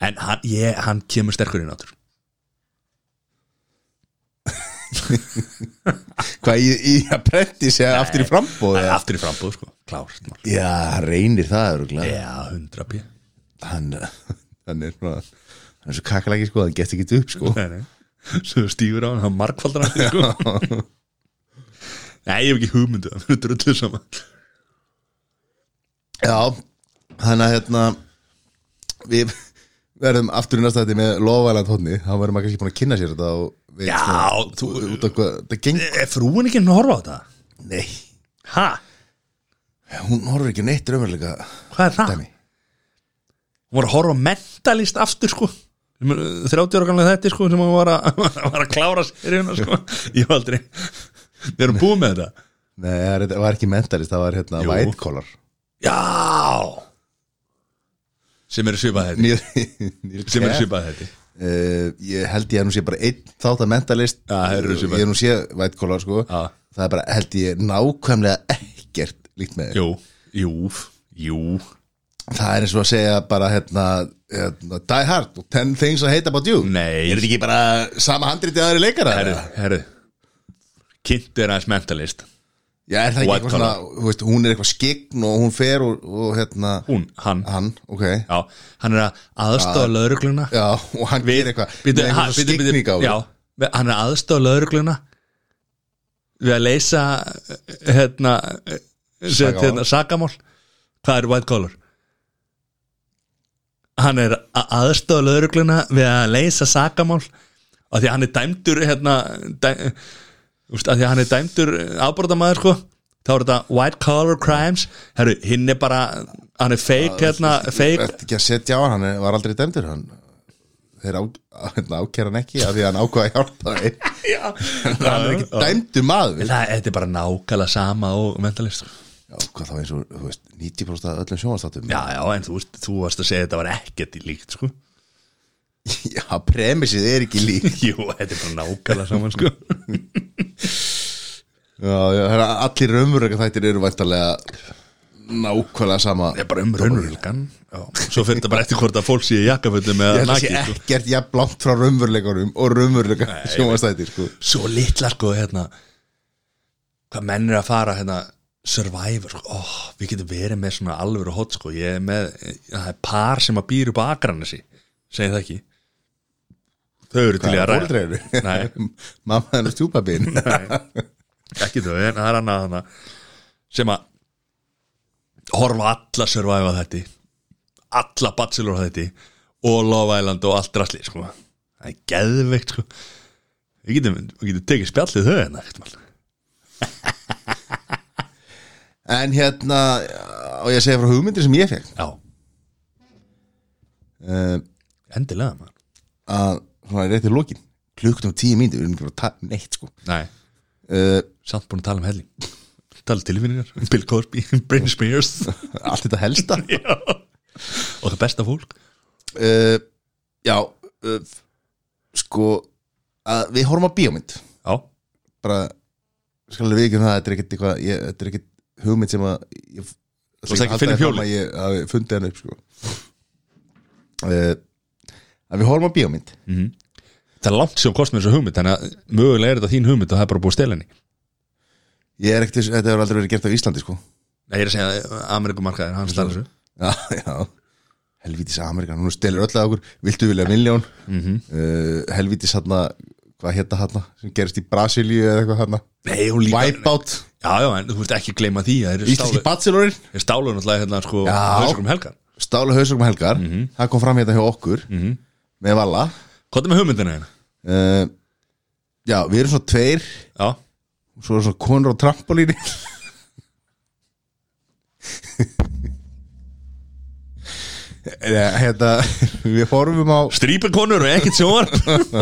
en hann, ég, hann kemur sterkur inn áttur Hvað í, í apprentice eða aftur í frambóð eða? aftur í frambúð, sko, klárt mál. Já, hann reynir það örgulega já, 100 pjö hann, hann er svona hann er svo kakalæki sko, hann gett ekki upp sko nei, nei. svo þú stífur á hann, hann markfaldar hann sko. nei, ég hef ekki hugmyndu það verður drullu saman Já, þannig að hérna við verðum aftur í næsta þetta með lofaland hodni þá verðum maður kannski búin að kynna sér þetta og við Já, svona, þú- út- út af hvað, það geng er frúin ekki að horfa á það? Nei, ha? hún horfir ekki á neitt raunveruleika hvað er það? dæmi hún var að horfa á mentalist aftur sko 30 ára gamlega þetta sko sem hún var að, var að klára seríuna sko ég var aldrei við erum búið með þetta Nei, það er- það var ekki mentalist, það var hérna Jú. white collar já sem eru svipað þetta Neil, Neil sem eru Cass. svipað þetta Eh, ég held ég að nú sé bara einn þátt að mentalist Já, það eru þessi ég hef nú sé white collar sko Já. það er bara held ég nákvæmlega ekkert líkt með þeim. jú, jú, jú það er eins og að segja bara hérna, hérna die hard og 10 things I hate about you Nei. er þetta ekki bara sama handriti aðri leikara herru, eða? herru kynnt er aðeins mentalist já er það ekki White eitthvað svona þú veist, hún er eitthvað skikn og hún fer og, og hérna hún, hann, hann, ok já, já, hann er að aðstofa lögregluna og hann gerir eitthvað Bíddu, með ha- eitthvað bíddu, bíddu, skikning á já, við- hann er að aðstofa lögregluna við að leysa eh, hérna, eh, set, Sakamál. hérna sakamál hvað er white collar hann er að aðstofa lögregluna við að leysa sakamál af því að hann er dæmdur hérna dæ, úst, af því að hann er dæmdur afbrotamæður sko þá er þetta white collar crimes herru, hinn er bara hann er fake hérna, fake Þetta ekki að setja á hann, hann var aldrei dæmdur hann þeir á, hérna, ákæra hann ekki af því að hann ákvaða að hjálpa þeim Já. hann er ekki dæmdur maður já, Það, þetta er bara nákvæmlega sama og mentalist sko. hvað þá eins og, þú veist, 90% af öllum sjónvarstátum Já, já, en þú veist, þú varst að segja þetta var ekkert í líkt, sko já, premissið er ekki lík Jú, þetta er bara nákvæmlega saman, sko já, já, hérna, allir raumuröka þættir eru væntalega nákvæmlega sama Þetta er bara um raunurulgan Svo fyrir þetta bara eftir hvort að fólk sé í jakkafötum ég eða held að sé nakið, sko ekkert jafn langt frá raumurleikunum og raumurleika sjónvarstátir sko. Svo litla, sko, hérna Hvað menn er að fara, hérna Survivor, sko, ó, við getum verið með svona alvöru hot, sko, ég er með það er par sem að býr upp á Akranesi segi það ekki Þau eru til í að ræða Fóreldrar eru. Nei. mamma hennar stjúpabin ekki þau, en það er annað hana sem að horfa á alla Survivor þetta alla Bachelor þetta og Love Island og allt rastli sko. það er geðveikt sko. við, getum, við getum tekið spjallið þau hérna ekkert mál. En hérna, og ég að segja frá hugmyndir sem ég fekk já, uh, endilega man. að svona rétt í lokin klukkan á tíu mínútur, við erum ekki bara að tala neitt sko nei, uh, samt búin að tala um helling tala um tilfinningar, Bill Cosby Britney Spears allt þetta helsta Já. og það besta fólk uh, Já uh, sko að við horfum á bíómynd já, bara, skal við ekki um það þetta er ekkit eitthvað, ég, þetta er ekkit hugmynd sem að ég, Þú varst ekki að finna upp hjólið? að ég, að ég fundi hann upp sko uh, að við horfum á bíómynd það er langt sem kost með þessu hugmynd þannig að mögulega er þetta þín hugmynd og það er bara búið að stela henni ég er ekkit, þetta hefur aldrei verið gert á Íslandi sko Nei, ég er að segja að Amerikumarkaðir, hann stælar þessu Já, já Helvítis Amerikan, hún stelur öll að okkur Viltu vilja miljón mm Mhm. uh, Helvítis hérna, hvað hérna hérna sem gerist í Brasilíu eða eitthvað hérna Nei, hún líka Wipeout, Já, já, en þú vilt ekki gleyma því að þeir Íslenski Bachelorinn stálu, stálu náttúrulega hérna sko Já. hausverkum helgar Stálu hausökum helgar, Mhm. það kom fram hérna hjá okkur með Valla Hvað er með hugmyndina hérna? uh, Já, við erum svona tveir Já, svo erum svona konur á trampolíni Eh, Hérna, við horfum á strípikonur og ekkert sjónvarp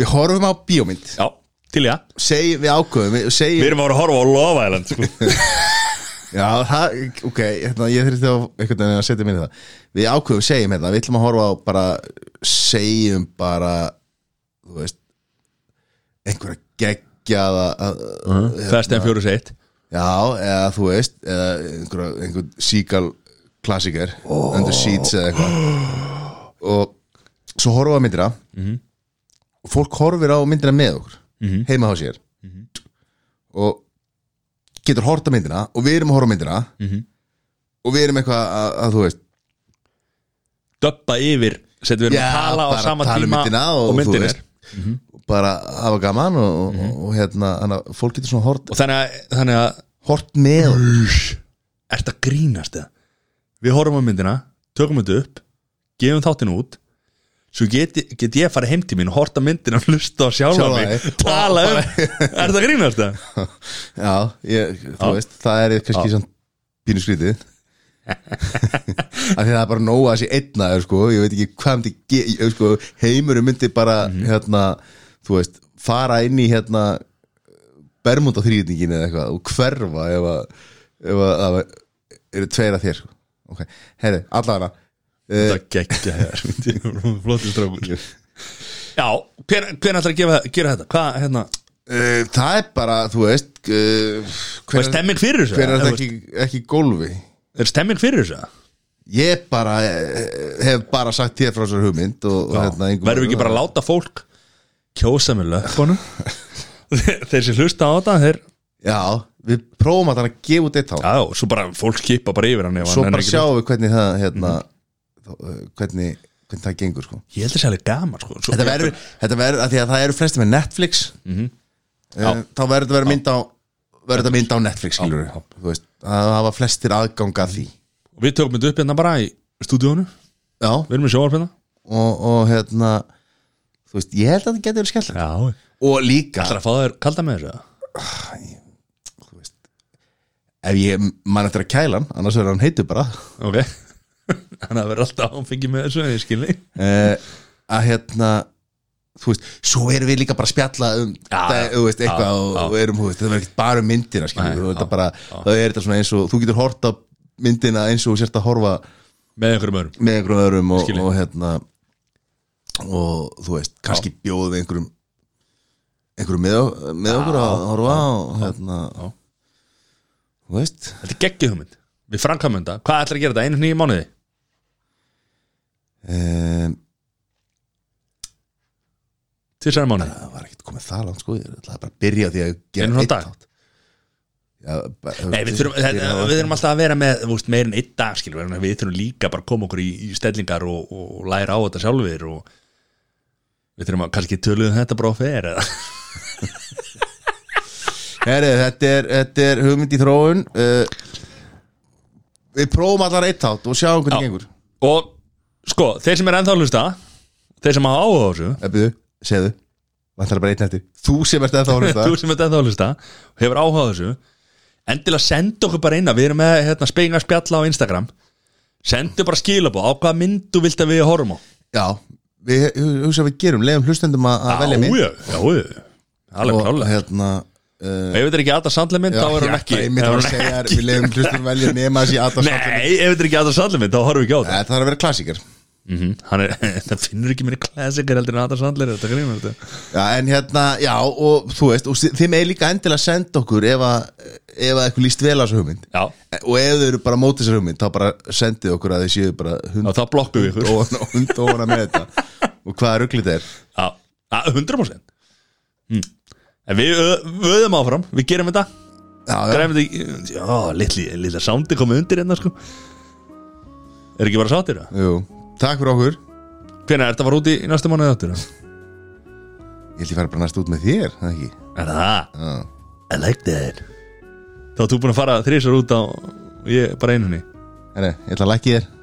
við horfum á bíómynd Já, til já Seg, við ákveðum, við segjum Við erum að fara að horfa á Love Island sko. Já, það, ok, hérna, ég þurfti á einhvern veginn að setja minni það Við ákveðum, segjum hérna, við ætlum að horfa á bara segjum bara þú veist einhverja geggjaða að- að- Fast and Furious 1 Já, eða þú veist eða einhverja, einhver síkal klassiker, Under Seeds eða eitthvað og svo horfum við á myndina Mhm. og fólk horfir á myndina með okkur heima á sér Mhm. og getur hort á myndina og við erum að horfa á myndina Mhm. og við erum eitthvað að, að þú veist Döbba yfir, setjum við erum að tala á bara sama tala um tíma myndina og, og þú myndin veist, er Mhm. bara hafa gaman og, mm og, og hérna, þannig að fólk getur svona hort, Og þannig að, þannig að hort með okkur Er þetta grínast eða? Við horfum á myndina, tökum þetta upp gefum þáttin út svo get, get ég að fara heim til mín og horta myndina og hlusta á sjálfa Sjálfa mig þig. tala um, er þetta grínast eða? Já, ég, þú veist, það er kannski svona pínu skrítið af því það er bara nóg að sé einnaður sko, ég veit ekki hvað myndi ge- ég, sko, heimurum myndi bara Mhm. hérna, þú veist, fara inn í hérna bermúnda þrýðningin eða eitthvað og hverfa ef að, ef að, að eru tveir að þér sko. ok, herri, allavega uh, Þetta geggja hér Flóttir strákur Já, hver, hver ætlar að gefa, gera þetta? Hvað, hérna, uh, það er bara, þú veist uh, hvað er hver, stemming fyrir þessu? hver er Þú þetta ekki, ekki í gólfi veist, Er stemming fyrir þessu? Ég bara eh, hef bara sagt þér frá þessar hugmynd og, og hérna Ingvar- Verðum við ekki bara að láta fólk kjósa með löpunum? þeir sem hlusta á þetta, þeir Já, við prófum að hann að gefa út eitt á Já, og svo bara fólk skipa bara yfir hann ef Svo hann er bara ekki- Mhm. sjáum við hvernig það hérna, mm hvernig, hvernig það gengur sko. Ég held að það er gaman sko. Svo- Þetta verður, þetta verður, að því að það eru flesti með Netflix mm Mhm. Þá verður þetta verið mynd á verður þetta mynd á Netflix skilur Já, já. Þú veist, það hafa flestir aðganga því Og Við tökum þetta upp hérna bara í stúdíónu Við Já, erum í sjóvarpina og, og hérna þú veist, ég held að þetta getur verið skemmtilegt Já Og líka Það er að fá þér kalda með þessu eða? ef ég mann eftir að kæla hann annars verður hann heitur bara Ok Þannig að það verður alltaf áfengi með þessu Ég skilni uh, að hérna þú veist, svo erum við líka bara að spjalla um Já, það, þú veist, eitthvað já, og, já. og erum, þú veist, það verður ekkert bara um myndina Nei, skilur, Nei, já, þetta bara, það er þetta svona eins og þú getur hort á myndina eins og þú sért að horfa Með einhverjum öðrum með einhverjum öðrum og, Skilji. og hérna og þú veist, kannski bjóðum við einhverjum einhverjum með, með okkur að horfa og hérna já. þú veist, Þetta er geggið hugmynd Við framkvæmum þetta Hvað ætlar að gera þetta? Einu nýju mánuði? um, Tvisar mánuði? það var ekkert komið það langt sko ég ætlaði bara að byrja á því að Einu gera svona einn dag? þátt. Já, bara- Nei, við þurfum, þetta, við þurfum alltaf að vera með þú veist, meir en einn dag skilur við, við þurfum líka bara að koma okkur í, í stellingar og, og læra á þetta sjálfur og við þurfum að kannski töluðum þetta bara á fer eða Herri, þetta er, þetta er hugmynd í þróun uh, Við prófum allar eitt átt og sjáum hvernig Já. gengur Og sko, þeir sem er ennþá að hlusta Þeir sem hafa áhuga á þessu Ebiðu, Eh, segðu Vantar bara einn eftir Þú sem ert eða þá hlusta Þú sem er ennþá að hlusta og Hefur áhuga á þessu Endilega senda okkur bara inn að Við erum með hérna, spengar spjalla á Instagram Sendu bara skilabóð Á hvaða myndu vilt að við horfum á Já, við hu- hugsa að við gerum Leifum hlustendum að, að velja já, mynd já, já, já. Alveg Og klálega hérna uh, Ef þetta er ekki Adam Sandler mynd, Já, þá er ég ætla hann ekki einmitt er að hún segja þér, ekki- Við leifum hlustendum að velja nema að sé aðtast Nei, ef þetta er ekki Adam Sandler mynd, þá horfum við ekki á þetta Það þarf að vera klassíker mm -hmm. Það finnur ekki mér klassiker heldur en Adam Sandler Þetta grínur þetta Já, en hérna, já, og þú veist og þi- þið með líka endilega að senda okkur ef að, ef að eitthvað líst vel á þessu hugmynd Já, og ef þau eru bara á móti þessu hugmynd þá bara sendið okkur að þið séu bara hund og þá blokkum við ykkur ofan hund ofan að með þetta og hvaða ruglið þetta er Já, já, 100% mm. En við ö- vöðum áfram, við gerum þetta Já, já, Græfum þetta í, já, litli, litla soundi komið undir hérna sko Er ekki bara sáttir það? jú, takk fyrir okkur Hvernig er þetta að fara út í í næstu mánuði áttur? Ég held ég fara bara næst út með þér, það ekki Er það? Já. I like that Þá ert þú búin að fara þrísar út á ég bara einunni Herre, ég ætla að lækki þér